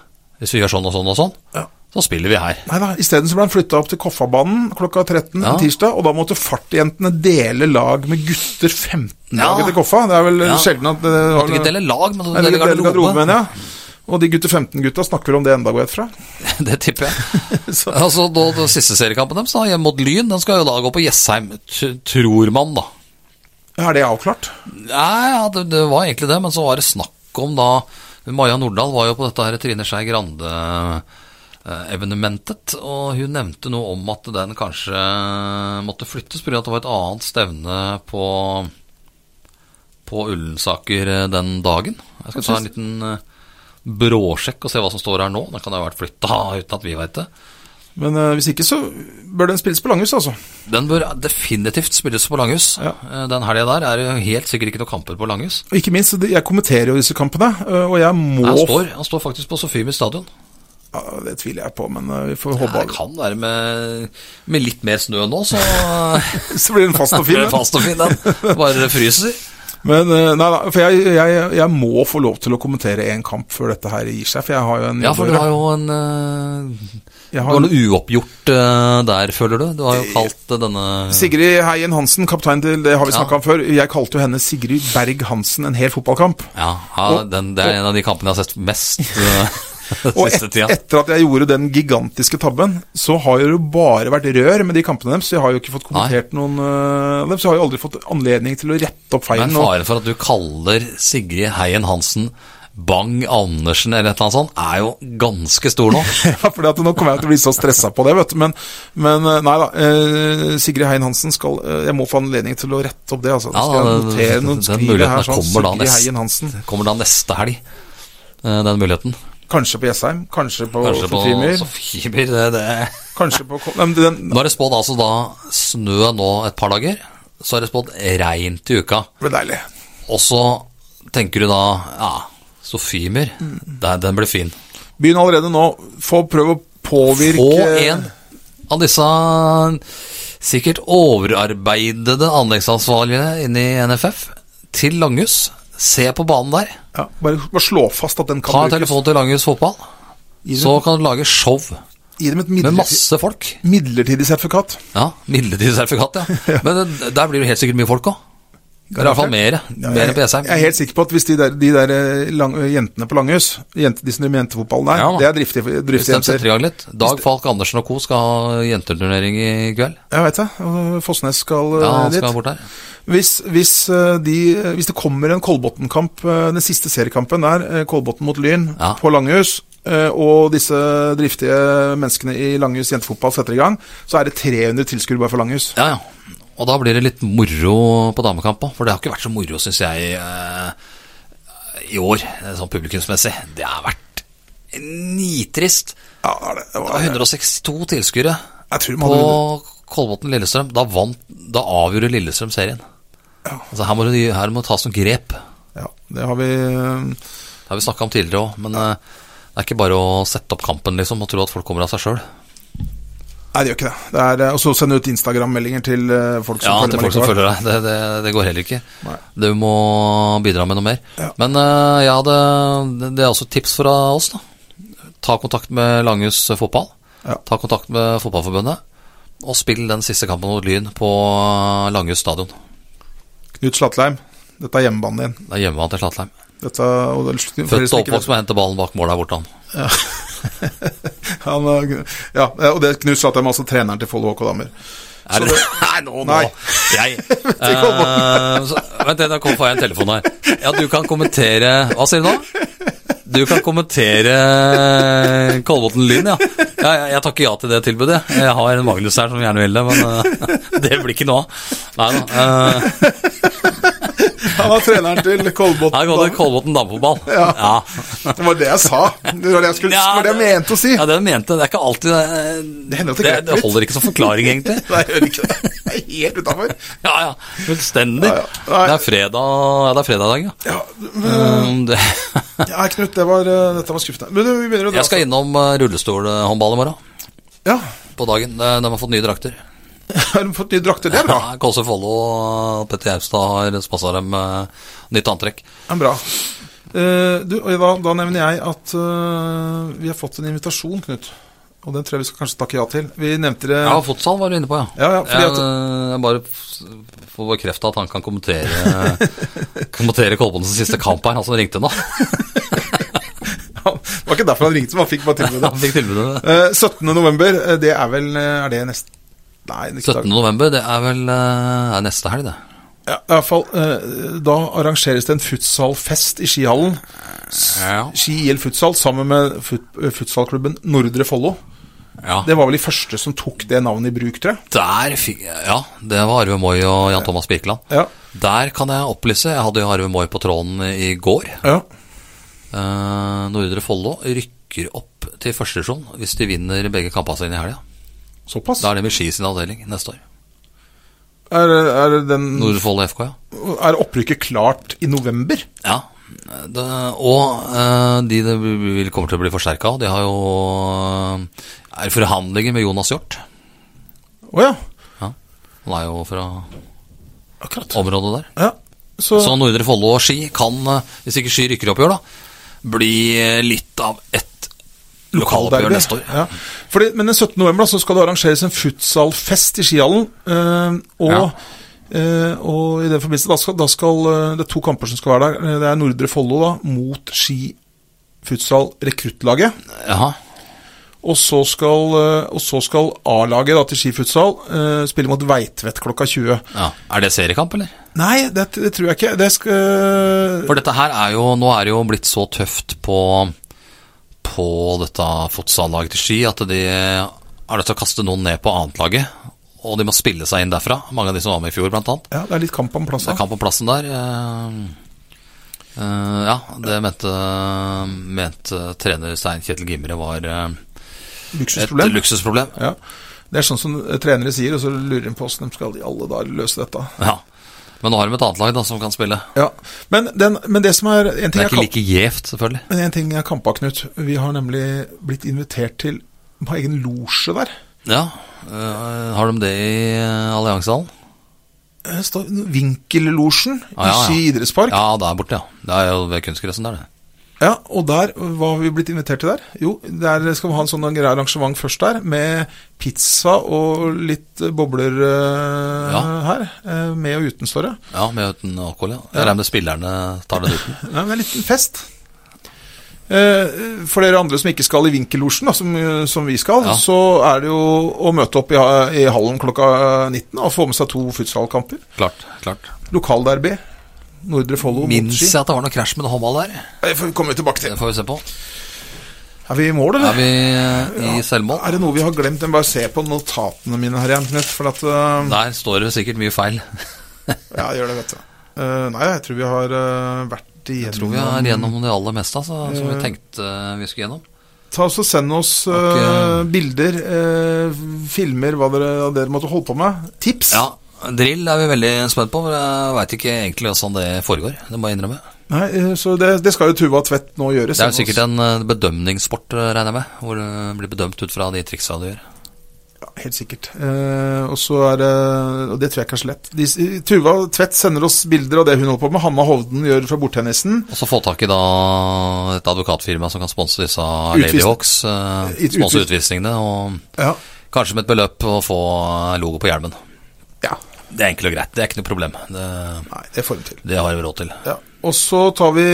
Speaker 2: Hvis vi gjør sånn og sånn og sånn,
Speaker 1: Ja.
Speaker 2: så spiller vi her.
Speaker 1: Nei da, Isteden så ble han flytta opp til Koffabanen klokka 13
Speaker 2: Ja.
Speaker 1: tirsdag, og da måtte fartjentene dele lag med gutter 15-laget
Speaker 2: Ja.
Speaker 1: til Koffa. Det er vel
Speaker 2: Ja.
Speaker 1: sjelden at det har
Speaker 2: Kan ikke dele lag, men
Speaker 1: Nei,
Speaker 2: dele
Speaker 1: dele garderobe,
Speaker 2: garderobe.
Speaker 1: mener jeg. Og de gutter 15-gutta snakker vel om det enda går jeg ut fra.
Speaker 2: Det tipper jeg.
Speaker 1: Så-
Speaker 2: altså, da, da siste seriekampen deres, da, hjemme mot Lyn, den skal jo da gå på Jessheim, t tror man, da.
Speaker 1: Er det avklart?
Speaker 2: Nei, ja, det, det var egentlig det, men så var det snakk om da Maja Nordahl var jo på dette her Trine Skei Grande-evenementet, og hun nevnte noe om at den kanskje eh, måtte flyttes pga. at det var et annet stevne på, på Ullensaker eh, den dagen. Jeg skal ta en liten eh, bråsjekk og se hva som står her nå. Den kan ha vært flytta uten at vi veit det.
Speaker 1: Men eh, hvis ikke, så bør den spilles på Langhus, altså.
Speaker 2: Den bør definitivt spilles på Langhus.
Speaker 1: Ja.
Speaker 2: Eh, Den helga der er det jo helt sikkert ikke noen kamper på Langhus.
Speaker 1: Og ikke minst, det- jeg kommenterer jo disse kampene, eh, og jeg må
Speaker 2: Nei, Han står, han står faktisk på Sofiemyr stadion.
Speaker 1: ja, Det tviler jeg på, men eh, vi får
Speaker 2: Ja,
Speaker 1: håpe
Speaker 2: det kan være med, med litt mer snø nå, så
Speaker 1: Så blir den fast og fin.
Speaker 2: blir det
Speaker 1: den.
Speaker 2: fast og fin den. Bare det fryser.
Speaker 1: Men eh, nei, nei, for jeg, jeg, jeg må få lov til å kommentere én kamp før dette her gir seg, for jeg har jo en
Speaker 2: Ja,
Speaker 1: jobb å
Speaker 2: for
Speaker 1: gjøre.
Speaker 2: du har jo en eh,
Speaker 1: Jeg
Speaker 2: Du
Speaker 1: har
Speaker 2: har
Speaker 1: en-
Speaker 2: noe uoppgjort eh, der, føler du? Du har jo kalt eh, denne
Speaker 1: Sigrid Heien Hansen, kaptein til Det har vi
Speaker 2: Ja.
Speaker 1: snakka om før. Jeg kalte jo henne Sigrid Berg Hansen en hel fotballkamp.
Speaker 2: Ja, ja den, det er en av de kampene jeg har sett mest eh,
Speaker 1: Og et,
Speaker 2: siste tida.
Speaker 1: etter at jeg gjorde den gigantiske tabben, så har det jo bare vært rør med de kampene deres. Så jeg har jo ikke fått kommentert noen øh, av dem. Så jeg har jo aldri fått anledning til å rette opp
Speaker 2: Men
Speaker 1: feilen. og-
Speaker 2: faren for at du kaller Sigrid Heien Hansen Bang Andersen eller et eller annet sånt, er jo ganske stor nå.
Speaker 1: Ja, fordi at nå kommer jeg til å bli så stressa på det, vet du. Men, men øh, nei da. øh, Sigrid Heien Hansen skal øh, Jeg må få anledning til å rette opp det, altså.
Speaker 2: Ja,
Speaker 1: Skal jeg
Speaker 2: den-
Speaker 1: notere
Speaker 2: den
Speaker 1: noen skriver
Speaker 2: muligheten
Speaker 1: her sånn.
Speaker 2: kommer da
Speaker 1: Sigrid
Speaker 2: nest-
Speaker 1: Heien Hansen.
Speaker 2: Kommer da neste helg, eh, den muligheten.
Speaker 1: Kanskje på Jessheim, kanskje på
Speaker 2: Kanskje på
Speaker 1: Frimer.
Speaker 2: Sofiemyr. Det, det
Speaker 1: Kanskje på Ko- Nei, men den,
Speaker 2: Nå er det spådd altså da snø nå et par dager. Så er det spådd regn til uka.
Speaker 1: Det blir deilig.
Speaker 2: Og så tenker du da ja, Sofimer, den, den blir fin.
Speaker 1: Begynn allerede nå. Få prøve å påvirke
Speaker 2: Få en av disse sikkert overarbeidede anleggsansvarlige inne i NFF til Langhus. Se på banen der.
Speaker 1: ja, bare, bare slå fast at den
Speaker 2: Ta
Speaker 1: kan
Speaker 2: en
Speaker 1: brukes.
Speaker 2: telefon til Langhus fotball.
Speaker 1: Gi
Speaker 2: Så
Speaker 1: dem,
Speaker 2: kan du lage show
Speaker 1: gi dem et
Speaker 2: med
Speaker 1: midlertidig,
Speaker 2: masse folk.
Speaker 1: midlertidig sertifikat.
Speaker 2: Ja, Midlertidig sertifikat, ja. Men det- der blir det helt sikkert mye folk òg. I hvert fall mer. Mer enn på
Speaker 1: jeg,
Speaker 2: Jessheim.
Speaker 1: jeg er helt sikker på at hvis de der, de der eh, lang, eh, jentene på Langhus, jente, de som driver med jentefotballen der,
Speaker 2: Ja, da.
Speaker 1: det er driftige,
Speaker 2: Hvis de setter i
Speaker 1: driftsjenter.
Speaker 2: gang litt. Dag Falk Andersen og co. skal ha jenteturnering i kveld.
Speaker 1: Jeg vet det. og Fosnes skal eh,
Speaker 2: Ja, han
Speaker 1: dit.
Speaker 2: skal bort der.
Speaker 1: Hvis, hvis, eh, de, hvis det kommer en Kolbotn-kamp, eh, den siste seriekampen der, eh, Kolbotn mot Lyn
Speaker 2: Ja.
Speaker 1: på Langhus, eh, og disse driftige menneskene i Langhus jentefotball setter i gang, så er det 300 tilskuere bare for Langhus.
Speaker 2: Ja, ja. Og da blir det litt moro på damekamp òg, for det har ikke vært så moro, syns jeg, eh, i år, eh, sånn publikumsmessig. Det har vært nitrist.
Speaker 1: Ja, det er det. Det
Speaker 2: Det
Speaker 1: var-
Speaker 2: var 162 tilskuere
Speaker 1: Jeg tror de hadde
Speaker 2: på Kolbotn-Lillestrøm. Da, vant- da avgjorde Lillestrøm serien. Altså, her må det her må det tas noen grep. Det
Speaker 1: Ja, det har vi eh,
Speaker 2: har vi snakka om tidligere òg, men eh, det er ikke bare å sette opp kampen liksom, og tro at folk kommer av seg sjøl.
Speaker 1: Nei, det gjør ikke det. det er, eh, og så sende ut Instagram-meldinger til eh, folk som
Speaker 2: Ja,
Speaker 1: følger meg
Speaker 2: til folk som
Speaker 1: likevel.
Speaker 2: følger deg. Det, det, det går heller ikke.
Speaker 1: Nei.
Speaker 2: Du må bidra med noe mer.
Speaker 1: Ja.
Speaker 2: Men eh, jeg hadde, det- det er også et tips fra oss. da. Ta kontakt med Langhus fotball.
Speaker 1: Ja.
Speaker 2: Ta kontakt med Fotballforbundet. Og spill den siste kampen mot Lyn på eh, Langhus stadion.
Speaker 1: Knut Slatleim, dette er hjemmebanen din.
Speaker 2: Det er hjemmebane til Slatleim.
Speaker 1: Dette, og det, er- for dere
Speaker 2: Født
Speaker 1: som ikke
Speaker 2: og
Speaker 1: vet-
Speaker 2: oppvokst med å hente ballen bak mål der borte, han.
Speaker 1: Han, eh, ja, og det er Knut Slatleim, altså treneren til Follo HK Damer.
Speaker 2: Er det, nei, nå, nå.
Speaker 1: Nei.
Speaker 2: Jeg Eh, så, Vent, da kom- får jeg en telefon her. Ja, du kan kommentere Hva sier du nå? Du kan kommentere Kolbotn Lyn, ja. ja. ja, Jeg takker ja til det tilbudet. Jeg har en Magnus her som gjerne vil det, men eh, det blir ikke noe av. Nei da. eh,
Speaker 1: Han var treneren til Kolbotn.
Speaker 2: Her går det Kolbotn damefotball. Ja.
Speaker 1: Det var det jeg sa. Det var det jeg, skulle, det var det jeg mente å si.
Speaker 2: Ja, det jeg mente. Det er ikke alltid eh,
Speaker 1: Det hender at det
Speaker 2: det,
Speaker 1: glipper
Speaker 2: det
Speaker 1: litt.
Speaker 2: holder ikke som forklaring, egentlig.
Speaker 1: Nei, jeg gjør ikke det. Jeg er helt utafor.
Speaker 2: Ja, ja. Fullstendig.
Speaker 1: Ja, ja. Nei.
Speaker 2: Det er fredag ja, det er fredag i dag, ja.
Speaker 1: Ja,
Speaker 2: Um, det,
Speaker 1: ja, Knut, det var, eh, dette var skuffende. Men du, vi begynner å dra
Speaker 2: jeg skal innom eh, rullestolhåndball i morgen.
Speaker 1: oss. Ja,
Speaker 2: På dagen. De, de har fått nye drakter.
Speaker 1: Har du fått nye drakter? Det er bra.
Speaker 2: Ja, Kåse Follo og Petter Jaustad har spassa dem eh, nytt antrekk.
Speaker 1: Det er bra. Eh, du, og da, da nevner jeg at eh, vi har fått en invitasjon, Knut. Og den tror jeg vi skal kanskje takke ja til. Vi nevnte det
Speaker 2: Ja, Fotsal var du inne på, ja.
Speaker 1: Ja, ja, fordi
Speaker 2: jeg, eh,
Speaker 1: at-
Speaker 2: jeg bare f- får bekrefta at han kan kommentere, eh, kommentere Kolbonds siste kamp her, han som ringte nå.
Speaker 1: Han- Det var ikke derfor han ringte, men han fikk bare tilbudet.
Speaker 2: Han fikk tilbudet.
Speaker 1: Eh, 17. november, eh, det er vel eh, Er det neste Nei, det er ikke
Speaker 2: 17. november, det er vel eh, er neste helg, det.
Speaker 1: dag. Ja, i hvert fall, eh, da arrangeres det en futsalfest i skihallen.
Speaker 2: Ja.
Speaker 1: Ski IL Futsal sammen med fut, eh, futsalklubben Nordre Follo.
Speaker 2: ja.
Speaker 1: Det var vel de første som tok det navnet i bruk, tror jeg.
Speaker 2: Der fikk Ja, det var Arve Moi og Jan Thomas Birkeland.
Speaker 1: Ja.
Speaker 2: Der kan jeg opplyse. Jeg hadde jo Arve Moi på tråden i går.
Speaker 1: Ja.
Speaker 2: Eh, Nordre Follo rykker opp til førstedivisjon hvis de vinner begge kampene sine i helga.
Speaker 1: Såpass.
Speaker 2: Da er det med Ski sin avdeling neste år.
Speaker 1: Er, er, den,
Speaker 2: Nordre Follo FK, ja.
Speaker 1: er opprykket klart i november?
Speaker 2: Ja, det, og eh, de det vil kommer til å bli forsterka av, de har jo eh, er i forhandlinger med Jonas Hjort.
Speaker 1: Å ja.
Speaker 2: Ja. Han er jo fra
Speaker 1: Akkurat.
Speaker 2: området der.
Speaker 1: Ja. Så,
Speaker 2: Så Nordre Follo og Ski kan, eh, hvis ikke Ski rykker opp i år, da, bli eh, litt av et lokaloppgjør
Speaker 1: Derby.
Speaker 2: neste år.
Speaker 1: Ja. Fordi, men den 17. november da, så skal det arrangeres en futsalfest i skihallen. eh, og,
Speaker 2: Ja.
Speaker 1: eh, og i den forbindelse da skal, da skal eh, det er to kamper som skal være der. Eh, Det er Nordre Follo da, mot Ski futsal rekruttlaget.
Speaker 2: Jaha.
Speaker 1: Og så skal, eh, og så skal A-laget da til Ski futsal eh, spille mot Veitvet klokka 20.
Speaker 2: Ja. Er det seriekamp, eller?
Speaker 1: Nei, det, det tror jeg ikke. Det skal eh,
Speaker 2: For dette her er jo Nå er det jo blitt så tøft på På dette fotsallaget til Ski at de er nødt til å kaste noen ned på annetlaget. Og de må spille seg inn derfra. Mange av de som var med i fjor, blant annet.
Speaker 1: Ja, det er litt kamp om plass
Speaker 2: Det
Speaker 1: da.
Speaker 2: er kamp om plassen der. eh, eh, ja, det mente, mente trener Stein Kjetil Gimre var eh, et
Speaker 1: Luksusproblem.
Speaker 2: luksusproblem.
Speaker 1: Ja. Det er sånn som eh, trenere sier, og så lurer de på hvordan de skal i alle dager løse dette.
Speaker 2: Ja. Men nå har de et annet lag da, som kan spille.
Speaker 1: Ja. Men, den, men det som er en
Speaker 2: Det
Speaker 1: ting,
Speaker 2: er
Speaker 1: jeg
Speaker 2: ikke
Speaker 1: kamp,
Speaker 2: like gjevt, selvfølgelig.
Speaker 1: men en ting jeg kampa, Knut Vi har nemlig blitt invitert til på egen losje der.
Speaker 2: Ja, eh, Har de det i eh, alliansehallen?
Speaker 1: Eh, står- Vinkellosjen
Speaker 2: Ah, ja, ja.
Speaker 1: i Ski idrettspark. Ja.
Speaker 2: Ja, der borte, ja. Det er jo ved kunstgressen der, det.
Speaker 1: og der, Hva har vi blitt invitert til der? Jo, der skal vi ha en sånn grei arrangement først der, med pizza og litt eh, bobler eh,
Speaker 2: Ja.
Speaker 1: her. eh, Med og uten, står det.
Speaker 2: Ja, Med uten alkohol, ja. Jeg regner med spillerne tar den uten.
Speaker 1: Ja, men en liten fest. Eh, For dere andre som ikke skal i vinkellosjen, da, som, eh, som vi skal,
Speaker 2: Ja.
Speaker 1: så er det jo å møte opp i, i hallen klokka 19 og få med seg to futsalkamper.
Speaker 2: Klart, klart.
Speaker 1: Lokalderby. Nordre Follo mot
Speaker 2: Minns
Speaker 1: Ski.
Speaker 2: jeg at det var noe krasj med noe håndball der.
Speaker 1: Eh, får vi komme tilbake
Speaker 2: Det
Speaker 1: til.
Speaker 2: får vi se på.
Speaker 1: Er vi i mål,
Speaker 2: Er
Speaker 1: eller?
Speaker 2: vi eh, i selvmål?
Speaker 1: Er det noe vi har glemt? Jeg må bare se på notatene mine her igjen, Knut. For at eh,
Speaker 2: Der står det sikkert mye feil.
Speaker 1: Ja, gjør det, vet du. Eh, nei, jeg tror vi har eh, vært igjennom
Speaker 2: Jeg tror vi er gjennom det aller meste altså, som vi tenkte eh, vi skulle gjennom.
Speaker 1: Ta oss og Send oss eh,
Speaker 2: Ok.
Speaker 1: bilder, eh, filmer, hva dere, hva dere måtte holde på med. Tips!
Speaker 2: Ja, drill er vi veldig spent på, for jeg veit ikke egentlig hvordan det foregår. Det må jeg innrømme.
Speaker 1: Nei, eh, så det, det skal jo Tuva Tvedt nå gjøre.
Speaker 2: Det er jo
Speaker 1: sende
Speaker 2: sikkert
Speaker 1: oss-
Speaker 2: en eh, bedømningssport, eh, regner jeg med, hvor du blir bedømt ut fra de triksa du gjør.
Speaker 1: Ja, helt sikkert. Eh, og så er det Og det tror jeg ikke er så lett. De, s- eh, Tuva Tvedt sender oss bilder av det hun holder på med. Hanna Hovden gjør fra bordtennisen.
Speaker 2: Og så få tak i da et advokatfirma som kan sponse disse
Speaker 1: Utvisning.
Speaker 2: Ladyhawks. Eh,
Speaker 1: Ut-
Speaker 2: sponse
Speaker 1: utvis-
Speaker 2: utvisningene, og
Speaker 1: Ja.
Speaker 2: kanskje med et beløp å få logo på hjelmen.
Speaker 1: ja.
Speaker 2: Det er enkelt og greit, det er ikke noe problem. Det,
Speaker 1: Nei, det får hun til.
Speaker 2: det har vi råd til.
Speaker 1: Ja. Og så tar vi,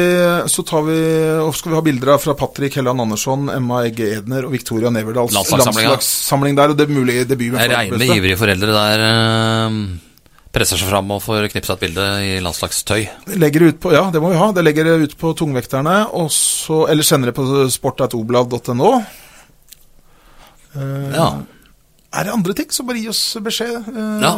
Speaker 1: så tar vi og skal vi ha bilder av fra Patrick Helland Andersson, Emma Egge Edner og Victoria Neverdals
Speaker 2: Landslagssamlinga.
Speaker 1: landslagssamling der, og det mulige debut.
Speaker 2: Jeg regner med ivrige foreldre der eh, presser seg fram og får knipsa et bilde i landslagstøy.
Speaker 1: Legger det ut på, ja, det må vi ha. Det legger det ut på tungvekterne, og så, eller sender det på sport.oblad.no. Eh,
Speaker 2: Ja.
Speaker 1: Er det andre ting, så bare gi oss beskjed. eh,
Speaker 2: Ja.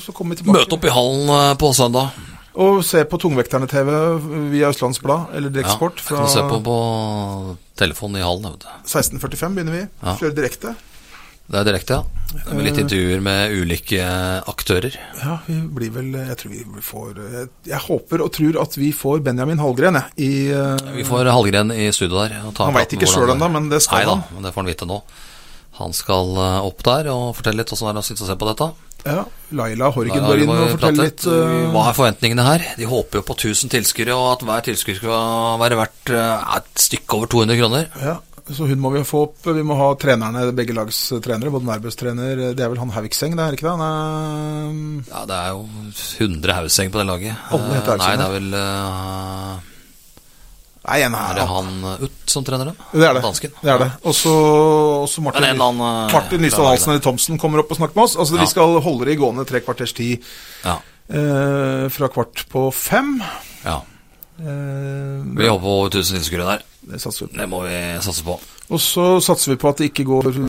Speaker 1: Så kommer vi tilbake.
Speaker 2: Møte opp i hallen eh, på søndag.
Speaker 1: Og se på Tungvekterne-TV via Østlands Blad eller
Speaker 2: Ja,
Speaker 1: Direktsport
Speaker 2: Kan du se på,
Speaker 1: fra
Speaker 2: på telefonen i hallen. vet du.
Speaker 1: 16.45 begynner vi.
Speaker 2: Ja.
Speaker 1: Kjører direkte.
Speaker 2: Det er direkte, ja. Det
Speaker 1: Eh.
Speaker 2: blir litt intervjuer med ulike aktører.
Speaker 1: Ja, vi blir vel Jeg tror vi får Jeg, jeg håper og tror at vi får Benjamin Hallgren, jeg. I, eh,
Speaker 2: Vi får Hallgren i studio der. og ta
Speaker 1: Han vet
Speaker 2: praten
Speaker 1: ikke
Speaker 2: hvordan
Speaker 1: selv
Speaker 2: det-
Speaker 1: ennå, men det skal
Speaker 2: Nei, da,
Speaker 1: han.
Speaker 2: men det får han vite nå. Han skal eh, opp der og fortelle litt åssen det er å sitte og se på dette.
Speaker 1: ja, Laila Horgen
Speaker 2: Laila,
Speaker 1: var
Speaker 2: vi
Speaker 1: inne
Speaker 2: må
Speaker 1: og
Speaker 2: jo prate
Speaker 1: fortelle litt. eh,
Speaker 2: Hva er forventningene her? De håper jo på 1000 tilskuere, og at hver tilskuer skal være verdt eh, et stykke over 200 kroner.
Speaker 1: Ja, så hun må vi få opp. Vi må ha trenerne, begge lags trenere. Både Nærbøs-trener Det er vel han Haugseng, det er ikke det? Han er,
Speaker 2: Ja, det er jo 100 hausseng på det laget.
Speaker 1: Alle heter
Speaker 2: Eh, Nei,
Speaker 1: Hausseng,
Speaker 2: det er vel eh,
Speaker 1: nei, en
Speaker 2: Er
Speaker 1: her.
Speaker 2: det han eh, Ut som trener dem?
Speaker 1: Det er det.
Speaker 2: Dansken.
Speaker 1: det, er det. Og så og så Martin,
Speaker 2: Men en annen, eh,
Speaker 1: Martin Lystad
Speaker 2: fra
Speaker 1: Hansen eller Thomsen kommer opp og snakker med oss. Altså,
Speaker 2: Ja.
Speaker 1: Vi skal holde det i gående tre kvarters tid
Speaker 2: Ja.
Speaker 1: eh, fra kvart på fem.
Speaker 2: ja.
Speaker 1: Eh,
Speaker 2: Vi håper på over 1000 tilskuere der.
Speaker 1: det satser vi på.
Speaker 2: Det må vi satse på.
Speaker 1: Og så satser vi på at det ikke går